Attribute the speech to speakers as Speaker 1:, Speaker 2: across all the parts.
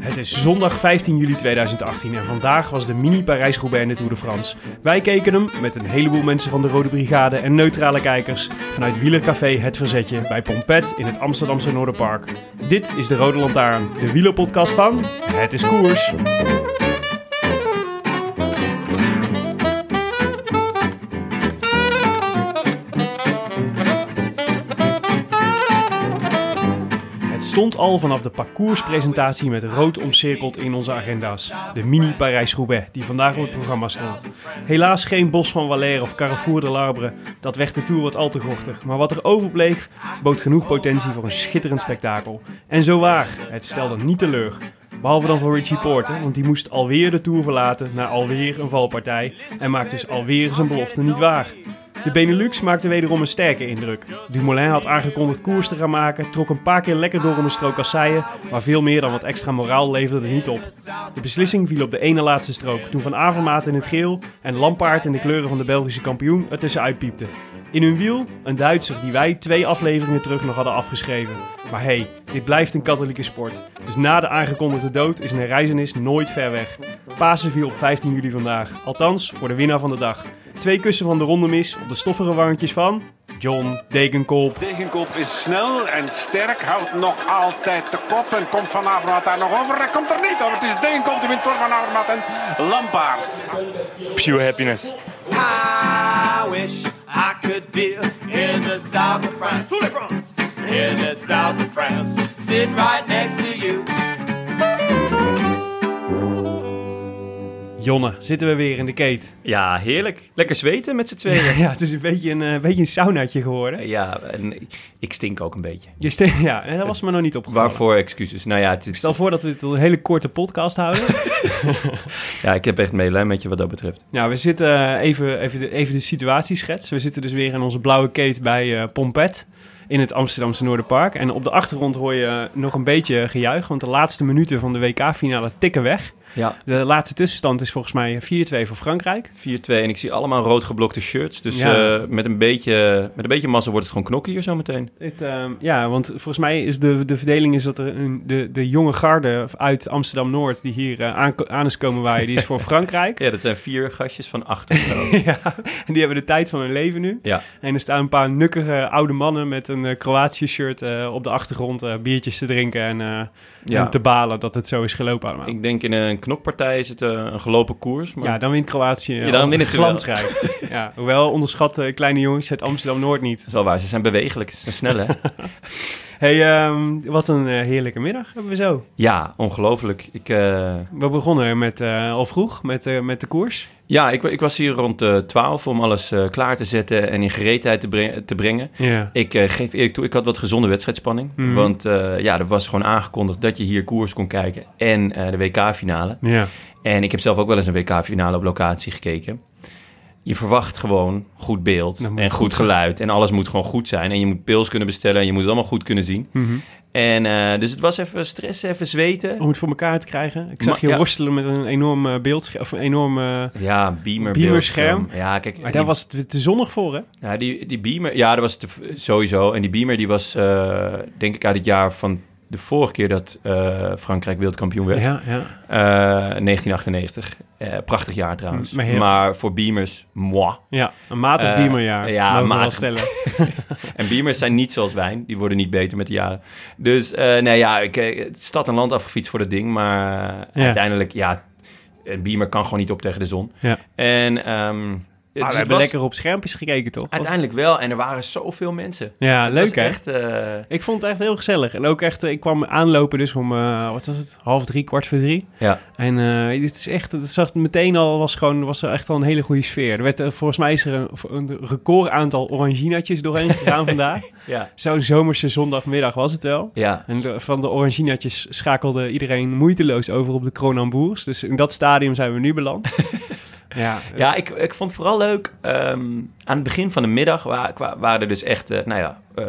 Speaker 1: Het is zondag 15 juli 2018 en vandaag was de mini Parijs-Roubaix in de Tour de France. Wij keken hem met een heleboel mensen van de Rode Brigade en neutrale kijkers vanuit Wielercafé Het Verzetje bij Pompet in het Amsterdamse Noorderpark. Dit is de Rode Lantaarn, de wielerpodcast van Het is Koers. Het stond al vanaf de parcourspresentatie met rood omcirkeld in onze agenda's. De mini Parijs-Roubaix die vandaag op het programma stond. Helaas geen Bos van Valère of Carrefour de Larbre. Dat werd de Tour wat al te gochtig. Maar wat er overbleef, bood genoeg potentie voor een schitterend spektakel. En zo waar, het stelde niet teleur. Behalve dan voor Richie Porter, want die moest alweer de Tour verlaten na alweer een valpartij. En maakt dus alweer zijn belofte niet waar. De Benelux maakte wederom een sterke indruk. Dumoulin had aangekondigd koers te gaan maken, trok een paar keer lekker door om een strook kasseien, maar veel meer dan wat extra moraal leverde er niet op. De beslissing viel op de ene laatste strook, toen Van Avermaat in het geel en Lampaard in de kleuren van de Belgische kampioen er tussenuit piepte. In hun wiel een Duitser die wij twee afleveringen terug nog hadden afgeschreven. Maar hey, dit blijft een katholieke sport. Dus na de aangekondigde dood is een herreizenis nooit ver weg. Pasen viel op 15 juli vandaag, althans voor de winnaar van de dag. Twee kussen van de ronde mis op de stoffige warntjes van John Degenkolb.
Speaker 2: Degenkop is snel en sterk, houdt nog altijd de kop en komt Van Avermaat daar nog over. Hij komt er niet over. Het is Degenkop die wint voor Van Avermaat en Lampaard.
Speaker 3: pure happiness.
Speaker 4: I wish I could be in the south of France. In the south of France, sitting right next to you.
Speaker 1: Jonne, zitten we weer in de keet.
Speaker 5: Ja, heerlijk. Lekker zweten met z'n tweeën.
Speaker 1: Ja, het is een beetje een, eh, beetje een saunaatje geworden.
Speaker 5: ja, en ik stink ook een beetje.
Speaker 1: Je ste- ja, en dat was me nog niet opgevallen.
Speaker 5: Waarvoor excuses? Nou ja, het is,
Speaker 1: Stel voor dat we dit een hele korte podcast houden.
Speaker 5: ja, ik heb echt medelijden met je wat dat betreft.
Speaker 1: nou, we zitten eh, even, even, de, even de situatie schets. We zitten dus weer in onze blauwe keet bij eh, Pompet in het Amsterdamse Noorderpark. En op de achtergrond hoor je eh, nog een beetje gejuich, want de laatste minuten van de WK-finale tikken weg.
Speaker 5: Ja, 4-2
Speaker 1: De laatste tussenstand is volgens mij 4-2 voor Frankrijk.
Speaker 5: en ik zie allemaal rood geblokte shirts. Dus
Speaker 1: Ja.
Speaker 5: eh, met, een beetje, met een beetje massa wordt het gewoon knokken hier zo meteen.
Speaker 1: Het, ehm, ja, want volgens mij is de, de verdeling is dat er een, de, de jonge garde uit Amsterdam-Noord... die hier eh, aanko- aan is komen waaien, die is voor Frankrijk.
Speaker 5: Ja, dat zijn vier gastjes van acht of zo.
Speaker 1: ja, en die hebben de tijd van hun leven nu.
Speaker 5: ja,
Speaker 1: En er staan een paar nukkige oude mannen met een eh Kroatië-shirt eh, op de achtergrond... eh, biertjes te drinken en, eh,
Speaker 5: ja.
Speaker 1: en te balen dat het zo is gelopen allemaal.
Speaker 5: ik denk in een knokpartij is het eh, een gelopen koers. Maar
Speaker 1: ja, dan wint Kroatië
Speaker 5: Ja, dan
Speaker 1: eh,
Speaker 5: winnen ze wel.
Speaker 1: glansrijk. ja, hoewel onderschat eh, kleine jongens uit Amsterdam-Noord niet.
Speaker 5: dat is wel waar. Ze zijn bewegelijk. Ze zijn snel, hè?
Speaker 1: hey, ehm, wat een eh, heerlijke middag hebben we zo.
Speaker 5: ja, ongelooflijk. Ik... eh,
Speaker 1: We begonnen met, eh, al vroeg met, eh, met de koers.
Speaker 5: Ja, ik, wa- ik was hier rond eh 12 om alles eh, klaar te zetten en in gereedheid te, breng- te brengen.
Speaker 1: Ja.
Speaker 5: Ik eh, geef eerlijk toe, ik had wat gezonde wedstrijdspanning.
Speaker 1: Mhm.
Speaker 5: Want eh, ja, er was gewoon aangekondigd dat je hier koers kon kijken en eh, de WK-finale.
Speaker 1: Ja.
Speaker 5: En ik heb zelf ook wel eens een WK-finale op locatie gekeken. Je verwacht gewoon goed beeld
Speaker 1: Dat moet
Speaker 5: en
Speaker 1: goed
Speaker 5: goed
Speaker 1: zijn.
Speaker 5: geluid. En alles moet gewoon goed zijn. En je moet pils kunnen bestellen en je moet het allemaal goed kunnen zien.
Speaker 1: Mhm.
Speaker 5: En eh, dus het was even stress, even zweten.
Speaker 1: Om het voor elkaar te krijgen. Ik zag
Speaker 5: Maar-
Speaker 1: je
Speaker 5: ja.
Speaker 1: worstelen met een enorm eh, beeldscherm. Of een enorm... eh,
Speaker 5: Ja, beamer.
Speaker 1: Beamerscherm.
Speaker 5: beeldscherm. Ja, kijk.
Speaker 1: maar
Speaker 5: die-
Speaker 1: daar was het te zonnig voor, hè?
Speaker 5: Ja, die, die Beamer, ja, dat was te, sowieso. En die Beamer, die was eh, denk ik uit het jaar van de vorige keer dat eh, Frankrijk wereldkampioen werd.
Speaker 1: Ja, ja.
Speaker 5: Eh, 1998. Eh, prachtig jaar trouwens.
Speaker 1: Maar
Speaker 5: Maar,
Speaker 1: heel-
Speaker 5: voor Beamers, moi.
Speaker 1: ja een matig
Speaker 5: Eh,
Speaker 1: beamerjaar.
Speaker 5: ja,
Speaker 1: mogen we wel
Speaker 5: matig.
Speaker 1: stellen.
Speaker 5: En Beamers zijn niet zoals wijn. Die worden niet beter met de jaren. Dus eh, nee, ja, ik, eh, het is stad en land afgefietst voor dat ding. Maar eh,
Speaker 1: Ja.
Speaker 5: uiteindelijk, ja, een Beamer kan gewoon niet op tegen de zon.
Speaker 1: Ja.
Speaker 5: En ehm,
Speaker 1: Maar
Speaker 5: het- dus
Speaker 1: we
Speaker 5: het
Speaker 1: hebben
Speaker 5: was
Speaker 1: lekker op schermpjes gekeken, toch?
Speaker 5: uiteindelijk wel. En er waren zoveel mensen.
Speaker 1: Ja,
Speaker 5: Het
Speaker 1: leuk
Speaker 5: was
Speaker 1: hè?
Speaker 5: Echt, eh,
Speaker 1: Ik vond het echt heel gezellig. En ook echt, eh, ik kwam aanlopen dus om, eh, wat was het, half drie, kwart voor drie.
Speaker 5: ja.
Speaker 1: En eh, dit is echt, het zag meteen al, was, gewoon, was er echt al een hele goede sfeer. Er werd, eh, volgens mij is er een, een record aantal oranginatjes doorheen gegaan vandaag.
Speaker 5: Ja.
Speaker 1: Zo'n zomerse zondagmiddag was het wel.
Speaker 5: Ja.
Speaker 1: En de- van de Oranginatjes schakelde iedereen moeiteloos over op de Kronenboers. Dus in dat stadium zijn we nu beland. ja,
Speaker 5: Ja, ik, ik vond het vooral leuk. ehm, aan het begin van de middag wa- kwa- waren er dus echt, eh, nou ja, eh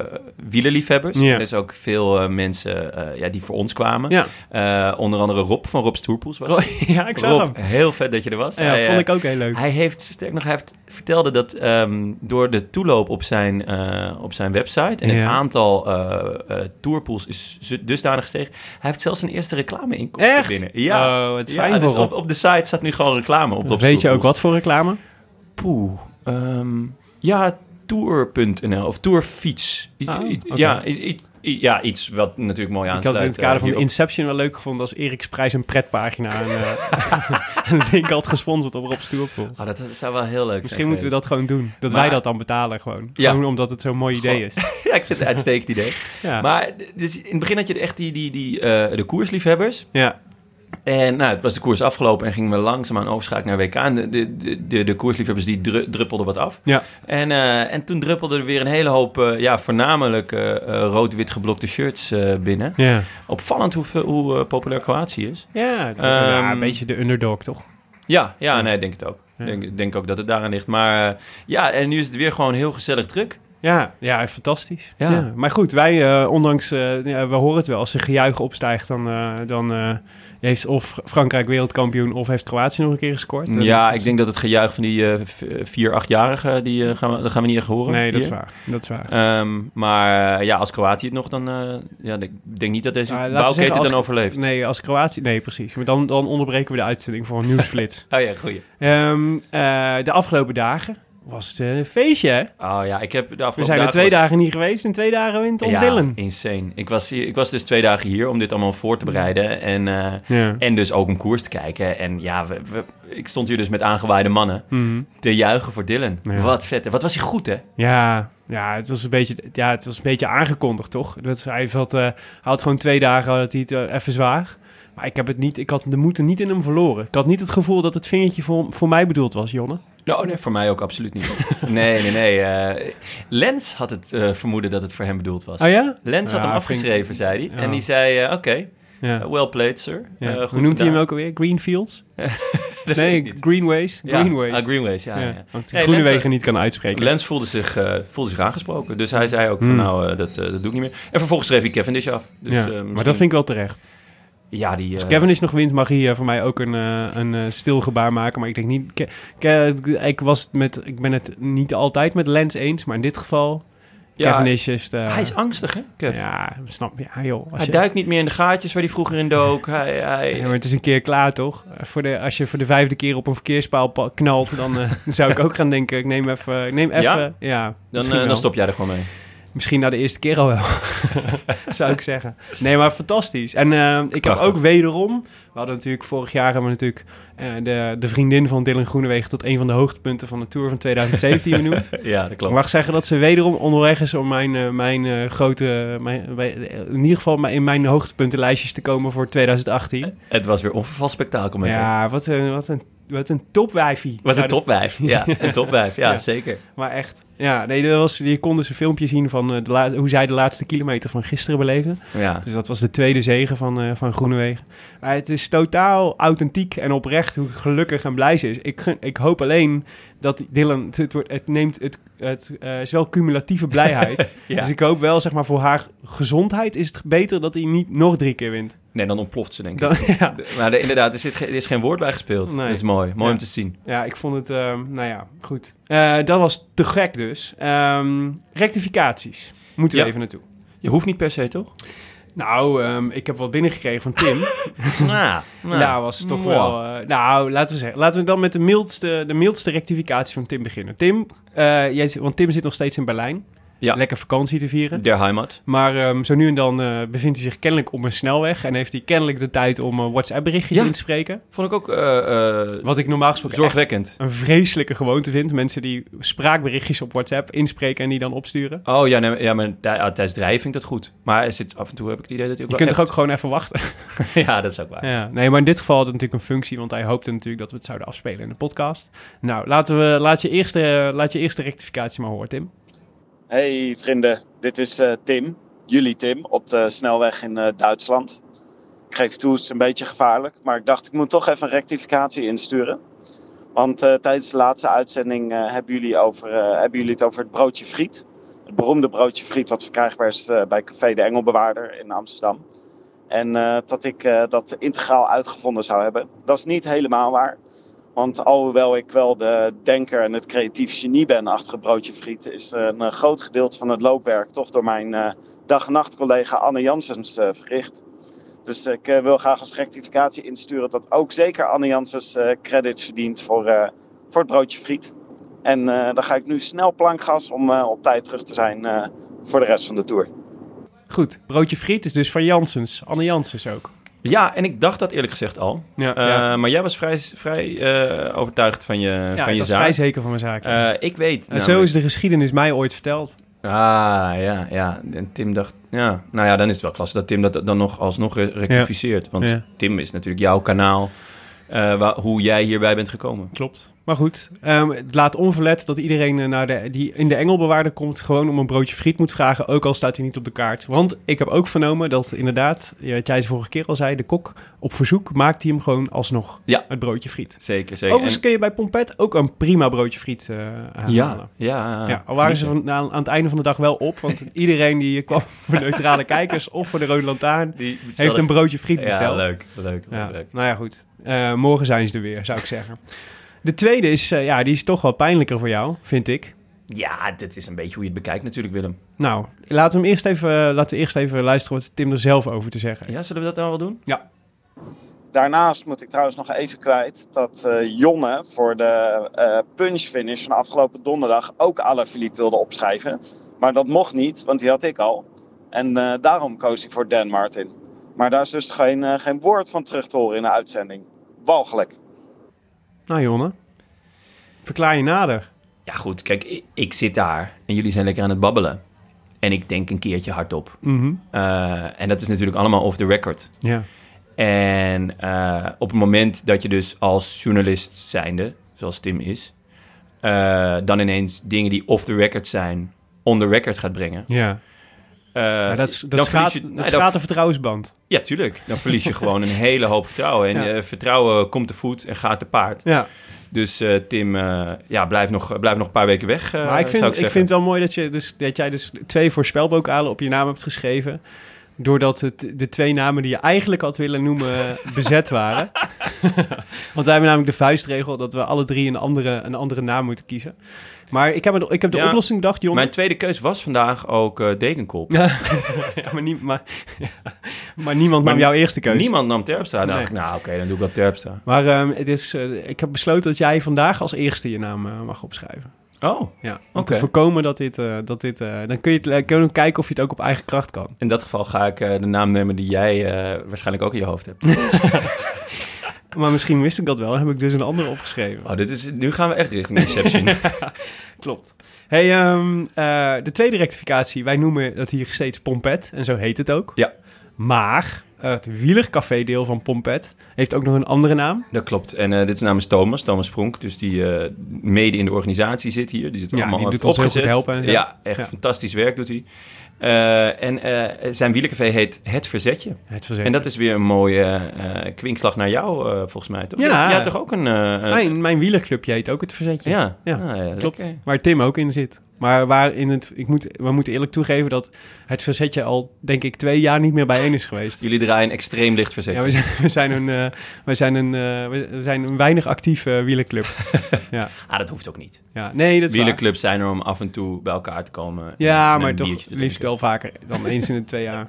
Speaker 5: wielerliefhebbers.
Speaker 1: Ja.
Speaker 5: Dus ook veel eh, mensen eh, ja, die voor ons kwamen.
Speaker 1: ja.
Speaker 5: Eh, onder andere Rob van Rob's Toerpoels was. er.
Speaker 1: ja ik zag
Speaker 5: Rob,
Speaker 1: hem.
Speaker 5: heel vet dat je er was.
Speaker 1: Ja,
Speaker 5: Hij,
Speaker 1: vond
Speaker 5: eh,
Speaker 1: ik ook heel leuk.
Speaker 5: Hij heeft, sterk nog, hij heeft, vertelde dat ehm, door de toeloop op zijn, eh, op zijn website... en het
Speaker 1: Ja.
Speaker 5: aantal eh eh tourpools is zu- dusdanig gestegen... hij heeft zelfs zijn eerste reclameinkomsten
Speaker 1: Echt?
Speaker 5: binnen. Ja,
Speaker 1: Oh, wat
Speaker 5: Ja,
Speaker 1: fijn
Speaker 5: dus
Speaker 1: voor
Speaker 5: op,
Speaker 1: Rob.
Speaker 5: op de site staat nu gewoon reclame op Rob's
Speaker 1: Weet je ook
Speaker 5: Tourpools.
Speaker 1: wat voor reclame?
Speaker 5: Poeh. ehm, ja, tour.nl of tourfiets. I-
Speaker 1: Ah,
Speaker 5: i-
Speaker 1: oké.
Speaker 5: ja, i- i- i- ja, iets wat natuurlijk mooi
Speaker 1: Ik had
Speaker 5: aansluit.
Speaker 1: het in het kader
Speaker 5: eh,
Speaker 1: van
Speaker 5: hierop.
Speaker 1: Inception wel leuk gevonden als Erik's Prijs een pretpagina een, eh, een link had gesponsord op Rob Stoerpoel.
Speaker 5: Ah, dat, dat zou wel heel leuk
Speaker 1: Misschien moeten we dat gewoon doen. Dat
Speaker 5: Maar-
Speaker 1: wij dat dan betalen gewoon.
Speaker 5: Ja.
Speaker 1: Gewoon omdat het zo'n mooi idee is.
Speaker 5: dat... ja, ik vind het een uitstekend idee.
Speaker 1: Ja.
Speaker 5: Maar d- dus in het begin had je echt die, die, die, eh, de koersliefhebbers.
Speaker 1: ja.
Speaker 5: En nou, het was de koers afgelopen en gingen we langzaamaan overschakelen naar WK. En de, de, de, de, de koersliefhebbers die dru- druppelden wat af.
Speaker 1: Ja.
Speaker 5: En, eh, en toen druppelden er weer een hele hoop, eh, ja, voornamelijk eh, eh, rood-wit geblokte shirts eh, binnen.
Speaker 1: Ja.
Speaker 5: Opvallend hoe, veel- hoe eh, populair Kroatië is.
Speaker 1: Ja, het-
Speaker 5: Ehm,
Speaker 1: ja, een beetje de underdog toch?
Speaker 5: Ja, ja, nee, ik denk het ook.
Speaker 1: Ja.
Speaker 5: Ik denk, denk ook dat het daaraan ligt. Maar eh, ja, en nu is het weer gewoon heel gezellig druk.
Speaker 1: Ja, ja fantastisch. Ja.
Speaker 5: Ja.
Speaker 1: Maar goed, wij, eh, ondanks, eh, ja, we horen het wel, als de gejuich opstijgt, dan, eh, dan eh, heeft of Frankrijk wereldkampioen of heeft Kroatië nog een keer gescoord.
Speaker 5: Ja, ik denk dat het gejuich van die eh, v- vier, achtjarigen, die eh, gaan, we, dat gaan we niet echt horen.
Speaker 1: Nee, dat is
Speaker 5: hier.
Speaker 1: waar. Dat is waar.
Speaker 5: Ehm, maar eh, ja, als Kroatië het nog, dan eh, ja, ik denk niet dat deze
Speaker 1: Ah, laten we
Speaker 5: bouwketen
Speaker 1: zeggen, als-
Speaker 5: dan overleeft.
Speaker 1: Nee, als Kroatië... Nee, precies. Maar dan, dan onderbreken we de uitzending voor een nieuwsflits.
Speaker 5: Oh ja, goeie.
Speaker 1: Ehm, eh, de afgelopen dagen was het een feestje, hè?
Speaker 5: Oh ja, ik heb de afgelopen
Speaker 1: We zijn er
Speaker 5: dagen
Speaker 1: twee
Speaker 5: was-
Speaker 1: dagen niet geweest en twee dagen wint ons
Speaker 5: ja,
Speaker 1: Dylan.
Speaker 5: insane. Ik was, hier, ik was dus twee dagen hier om dit allemaal voor te bereiden. En, eh,
Speaker 1: Ja.
Speaker 5: en dus ook om koers te kijken. En ja, we- we- ik stond hier dus met aangewaaide mannen.
Speaker 1: Mhm.
Speaker 5: te juichen voor Dylan.
Speaker 1: Ja.
Speaker 5: Wat vet. Wat was hij goed, hè?
Speaker 1: Ja, ja, het was een beetje, ja, het was een beetje aangekondigd, toch? Dat, hij, had, eh, hij had gewoon twee dagen dat hij het eh, even zwaar. Maar ik, heb het niet, ik had de moed er niet in hem verloren. Ik had niet het gevoel dat het vingertje voor, voor mij bedoeld was, Jonne.
Speaker 5: Nou, nee, voor mij ook absoluut niet. nee, nee, nee. eh, Lens had het eh, vermoeden dat het voor hem bedoeld was.
Speaker 1: Oh ja?
Speaker 5: Lens had
Speaker 1: Ja,
Speaker 5: hem
Speaker 1: vind ik-
Speaker 5: afgeschreven, zei hij.
Speaker 1: Ja.
Speaker 5: En die zei, eh, oké,
Speaker 1: Ja.
Speaker 5: eh, well played, sir.
Speaker 1: Ja.
Speaker 5: Eh,
Speaker 1: Hoe
Speaker 5: goed
Speaker 1: noemt hij hem
Speaker 5: gedaan.
Speaker 1: ook alweer? Greenfields?
Speaker 5: Dat
Speaker 1: nee,
Speaker 5: weet ik niet.
Speaker 1: Greenways.
Speaker 5: Ja,
Speaker 1: Greenways.
Speaker 5: ah, Greenways, ja.
Speaker 1: ja,
Speaker 5: ja.
Speaker 1: Want hij
Speaker 5: Nee,
Speaker 1: groene
Speaker 5: Lens-
Speaker 1: wegen niet kan uitspreken.
Speaker 5: Lens voelde zich, eh, voelde zich aangesproken. Dus hij zei ook van,
Speaker 1: Hmm.
Speaker 5: nou, eh, dat, eh, dat doe ik niet meer. En vervolgens schreef hij Cavendish af. Dus,
Speaker 1: ja.
Speaker 5: eh,
Speaker 1: Maar
Speaker 5: misschien-
Speaker 1: dat vind ik wel terecht.
Speaker 5: Ja, die... eh,
Speaker 1: Als Kevin is nog wint, mag hij eh, voor mij ook een, eh, een eh, stil gebaar maken. Maar ik denk niet. Ke- Ke- ik, was het met, ik ben het niet altijd met Lens eens, maar in dit geval.
Speaker 5: ja,
Speaker 1: Kevin is just, eh,
Speaker 5: Hij is angstig, hè, Kev?
Speaker 1: Ja, snap je. Ja, joh. Als
Speaker 5: Hij
Speaker 1: je,
Speaker 5: duikt niet meer in de gaatjes waar hij vroeger in dook. Hij, hij,
Speaker 1: Ja, maar het is een keer klaar, toch? Eh, Voor de, als je voor de vijfde keer op een verkeerspaal pa- knalt, dan eh, zou ik ook gaan denken... Ik neem even... Ik neem even
Speaker 5: Ja?
Speaker 1: ja?
Speaker 5: dan,
Speaker 1: misschien
Speaker 5: eh,
Speaker 1: wel.
Speaker 5: dan stop jij er gewoon mee.
Speaker 1: Misschien na de eerste keer al wel, zou ik zeggen. Nee, maar fantastisch. En eh, ik
Speaker 5: Prachtig.
Speaker 1: heb ook wederom... We hadden natuurlijk vorig jaar hebben we natuurlijk eh, de, de vriendin van Dylan Groenewegen... tot een van de hoogtepunten van de Tour van 2017 benoemd.
Speaker 5: Ja, dat
Speaker 1: Ik mag zeggen dat ze wederom onderweg is om mijn, eh, mijn eh, grote... Mijn, bij- eh, in ieder geval in mijn hoogtepuntenlijstjes te komen voor 2018.
Speaker 5: Het was weer onvervals spektakel Eh, met hem.
Speaker 1: Ja, wat een, wat een, wat een topwijfie.
Speaker 5: Wat een
Speaker 1: Zou-
Speaker 5: topwijf. Ja, een topwijf. Ja,
Speaker 1: Ja.
Speaker 5: zeker.
Speaker 1: Maar echt. Ja, nee, dat was, je kon dus een filmpje zien van eh, de la- hoe zij de laatste kilometer van gisteren beleefden.
Speaker 5: Ja.
Speaker 1: Dus dat was de tweede zege van, eh van Groenewegen. Maar het is totaal authentiek en oprecht hoe gelukkig en blij ze is. Ik, gun- ik hoop alleen dat Dylan... Het, het, wordt- het neemt... Het, het eh, is wel cumulatieve blijheid.
Speaker 5: Ja.
Speaker 1: Dus ik hoop wel, zeg maar, voor haar gezondheid is het beter dat hij niet nog drie keer wint.
Speaker 5: Nee, dan ontploft ze, denk ik.
Speaker 1: Dan, ja.
Speaker 5: Maar er- inderdaad, er, zit ge- er is geen woord bij gespeeld.
Speaker 1: Nee.
Speaker 5: Dat is mooi. Mooi
Speaker 1: Ja.
Speaker 5: om te zien.
Speaker 1: Ja, ik vond het, ehm, nou ja, goed. Eh, dat was te gek dus. Ehm, rectificaties. Moeten we
Speaker 5: Ja.
Speaker 1: even naartoe.
Speaker 5: Je hoeft niet per se, toch?
Speaker 1: Nou, ehm, ik heb wat binnengekregen van Tim.
Speaker 5: Nou, nou.
Speaker 1: Nou, was toch
Speaker 5: Mwah.
Speaker 1: wel. eh, nou, laten we zeggen. Laten we dan met de mildste, de mildste rectificatie van Tim beginnen. Tim, eh, jij, zit- want Tim zit nog steeds in Berlijn.
Speaker 5: Ja.
Speaker 1: Lekker vakantie te vieren.
Speaker 5: Der Heimat.
Speaker 1: Maar ehm, zo nu en dan eh, bevindt hij zich kennelijk op een snelweg. En heeft hij kennelijk de tijd om eh, WhatsApp-berichtjes
Speaker 5: Ja.
Speaker 1: in te spreken.
Speaker 5: Vond ik ook eh, eh,
Speaker 1: Wat ik normaal gesproken echt
Speaker 5: zorgwekkend.
Speaker 1: een vreselijke gewoonte vind. Mensen die spraakberichtjes op WhatsApp inspreken en die dan opsturen.
Speaker 5: Oh ja, nee, ja maar tij- ja, tijdens het rijden vind ik dat goed. Maar er zit, af en toe heb ik het idee dat hij ook
Speaker 1: Je kunt
Speaker 5: wel
Speaker 1: toch ook gewoon even wachten.
Speaker 5: echt- Ja, dat is ook waar.
Speaker 1: Ja. Nee, maar in dit geval had het natuurlijk een functie, want hij hoopte natuurlijk dat we het zouden afspelen in de podcast. Nou, laten we, laat, je eerste, eh, laat je eerste rectificatie maar horen, Tim.
Speaker 6: Hey vrienden, dit is eh, Tim, jullie Tim, op de snelweg in eh, Duitsland. Ik geef toe, het is een beetje gevaarlijk, maar ik dacht ik moet toch even een rectificatie insturen. Want eh, tijdens de laatste uitzending eh, hebben, jullie over, eh, hebben jullie het over het broodje friet. Het beroemde broodje friet wat verkrijgbaar is eh, bij Café de Engelbewaarder in Amsterdam. En eh, dat ik eh, dat integraal uitgevonden zou hebben. Dat is niet helemaal waar. Want alhoewel ik wel de denker en het creatief genie ben achter het broodje friet, is een eh, groot gedeelte van het loopwerk toch door mijn eh, dag- en nachtcollega Anne Janssens eh, verricht. Dus ik eh, wil graag als rectificatie insturen dat ook zeker Anne Janssens eh, credits verdient voor, eh, voor het broodje friet. En eh, dan ga ik nu snel plankgas om eh, op tijd terug te zijn eh, voor de rest van de tour.
Speaker 1: Goed, broodje friet is dus van Janssens. Anne Janssens ook.
Speaker 5: Ja, en ik dacht dat eerlijk gezegd al.
Speaker 1: Ja,
Speaker 5: Eh,
Speaker 1: ja.
Speaker 5: Maar jij was vrij, vrij eh, overtuigd van je,
Speaker 1: Ja,
Speaker 5: van
Speaker 1: ik
Speaker 5: je
Speaker 1: was
Speaker 5: zaak.
Speaker 1: vrij zeker van mijn zaak. ja.
Speaker 5: Eh, ik weet.
Speaker 1: en zo
Speaker 5: namelijk-
Speaker 1: is de geschiedenis mij ooit verteld.
Speaker 5: Ah, ja, ja. En Tim dacht... Ja, nou ja, dan is het wel klasse dat Tim dat dan nog alsnog re- rectificeert. Want
Speaker 1: Ja.
Speaker 5: Tim is natuurlijk jouw kanaal, eh, wa- hoe jij hierbij bent gekomen.
Speaker 1: Klopt. Maar goed, ehm, het laat onverlet dat iedereen eh, naar de, die in de Engelbewaarder komt... gewoon om een broodje friet moet vragen, ook al staat hij niet op de kaart. Want ik heb ook vernomen dat inderdaad, eh, wat jij de vorige keer al zei... de kok op verzoek maakt hij hem gewoon alsnog,
Speaker 5: Ja.
Speaker 1: het broodje friet.
Speaker 5: Zeker, zeker.
Speaker 1: Overigens kun je bij Pompet ook een prima broodje friet eh
Speaker 5: En-
Speaker 1: halen.
Speaker 5: ja, Ah, ja,
Speaker 1: Ja, al waren ze van, aan, aan het einde van de dag wel op, want iedereen die kwam voor neutrale kijkers of voor de Rode Lantaarn
Speaker 5: Die
Speaker 1: heeft een broodje friet
Speaker 5: Ja,
Speaker 1: besteld.
Speaker 5: leuk, leuk,
Speaker 1: Ja,
Speaker 5: leuk.
Speaker 1: nou ja, goed. Eh, morgen zijn ze er weer, zou ik zeggen. De tweede is, eh, ja, die is toch wel pijnlijker voor jou, vind ik.
Speaker 5: Ja, dit is een beetje hoe je het bekijkt natuurlijk, Willem.
Speaker 1: Nou, laten we, hem eerst even, eh, laten we eerst even luisteren wat Tim er zelf over te zeggen heeft.
Speaker 5: Ja, zullen we dat nou wel doen?
Speaker 6: Daarnaast moet ik trouwens nog even kwijt dat eh, Jonne voor de eh punchfinish van afgelopen donderdag ook Alaphilippe wilde opschrijven. Maar dat mocht niet, want die had ik al. En eh, daarom koos ik voor Dan Martin. Maar daar is dus geen, eh, geen woord van terug te horen in de uitzending. Walgelijk.
Speaker 1: Nou, Jonne, verklaar je nader.
Speaker 5: Ja, goed. Kijk, ik, ik zit daar en jullie zijn lekker aan het babbelen. En ik denk een keertje hardop.
Speaker 1: Mhm.
Speaker 5: Eh, en dat is natuurlijk allemaal off the record.
Speaker 1: Ja.
Speaker 5: En eh, op het moment dat je dus als journalist zijnde, zoals Tim is... eh, dan ineens dingen die off the record zijn, on the record gaat brengen.
Speaker 1: ja.
Speaker 5: eh,
Speaker 1: Maar dat is- dat
Speaker 5: dan verlies
Speaker 1: schaadt
Speaker 5: je-
Speaker 1: dat
Speaker 5: nee, dan-
Speaker 1: schaadt de vertrouwensband.
Speaker 5: Ja, tuurlijk. Dan verlies je gewoon een hele hoop vertrouwen. En
Speaker 1: Ja.
Speaker 5: eh, vertrouwen komt te voet en gaat te paard.
Speaker 1: Ja.
Speaker 5: Dus eh, Tim, eh, ja, blijf nog, blijf nog een paar weken weg, eh,
Speaker 1: Maar ik vind,
Speaker 5: zou ik
Speaker 1: ik
Speaker 5: zeggen.
Speaker 1: vind het wel mooi dat, je dus, dat jij dus twee voorspelbokalen op je naam hebt geschreven. Doordat het, de twee namen die je eigenlijk had willen noemen eh, bezet waren. Want wij hebben namelijk de vuistregel dat we alle drie een andere, een andere naam moeten kiezen. Maar ik heb, het- ik heb de
Speaker 5: Ja,
Speaker 1: oplossing bedacht, jongen.
Speaker 5: Mijn tweede keus was vandaag ook eh Dekenkop.
Speaker 1: Ja, maar, nie- maar, maar niemand
Speaker 5: Maar
Speaker 1: nam jouw eerste keuze.
Speaker 5: Niemand nam Terpstra. Dan
Speaker 1: Nee.
Speaker 5: dacht ik, nou oké, dan doe ik wel Terpstra.
Speaker 1: Maar ehm, het is, eh, ik heb besloten dat jij vandaag als eerste je naam eh, mag opschrijven.
Speaker 5: Oh,
Speaker 1: Ja, om
Speaker 5: Oké.
Speaker 1: te voorkomen dat dit... eh, dat dit eh, dan kun je, het, eh, kun je kijken of je het ook op eigen kracht kan.
Speaker 5: in dat geval ga ik eh, de naam nemen die jij eh, waarschijnlijk ook in je hoofd hebt.
Speaker 1: Maar misschien wist ik dat wel en heb ik dus een andere opgeschreven.
Speaker 5: Oh, dit is, nu gaan we echt richting Inception.
Speaker 1: Klopt. Hey, ehm, eh, de tweede rectificatie. Wij noemen dat hier steeds Pompet en zo heet het ook.
Speaker 5: Ja.
Speaker 1: Maar eh, het wielercafé-deel van Pompet heeft ook nog een andere naam.
Speaker 5: dat klopt. En eh, dit is namens Thomas, Thomas Pronk. Dus die eh, mede in de organisatie zit hier. Die, zit
Speaker 1: Ja,
Speaker 5: allemaal
Speaker 1: die
Speaker 5: heeft
Speaker 1: doet ons heel
Speaker 5: opgezet.
Speaker 1: goed helpen.
Speaker 5: Ja,
Speaker 1: Ja.
Speaker 5: echt
Speaker 1: Ja.
Speaker 5: fantastisch werk doet hij. Eh, en eh, zijn wielercafé heet Het Verzetje.
Speaker 1: Het verzet.
Speaker 5: En dat is weer een mooie eh, kwinkslag naar jou, eh, volgens mij, toch?
Speaker 1: Ja.
Speaker 5: Jij had toch ook een... eh,
Speaker 1: mijn, mijn wielerclubje heet ook het verzetje.
Speaker 5: Ja,
Speaker 1: Ja,
Speaker 5: Ah, ja,
Speaker 1: Klopt.
Speaker 5: lekker.
Speaker 1: Waar Tim ook in zit. Maar waar in het, ik moet, we moeten eerlijk toegeven dat het verzetje al, denk ik, twee jaar niet meer bijeen is geweest.
Speaker 5: Jullie draaien extreem licht verzet.
Speaker 1: Ja, we zijn, we zijn een, eh, we zijn een, eh, we zijn een weinig actief eh, wielerclub.
Speaker 5: Ah, dat hoeft ook niet.
Speaker 1: Ja, nee, dat is waar.
Speaker 5: Wielerclubs zijn er om af en toe bij elkaar te komen. en- en
Speaker 1: Ja,
Speaker 5: een
Speaker 1: maar toch
Speaker 5: biertje te
Speaker 1: liefst
Speaker 5: drinken.
Speaker 1: wel vaker dan eens in de twee jaar.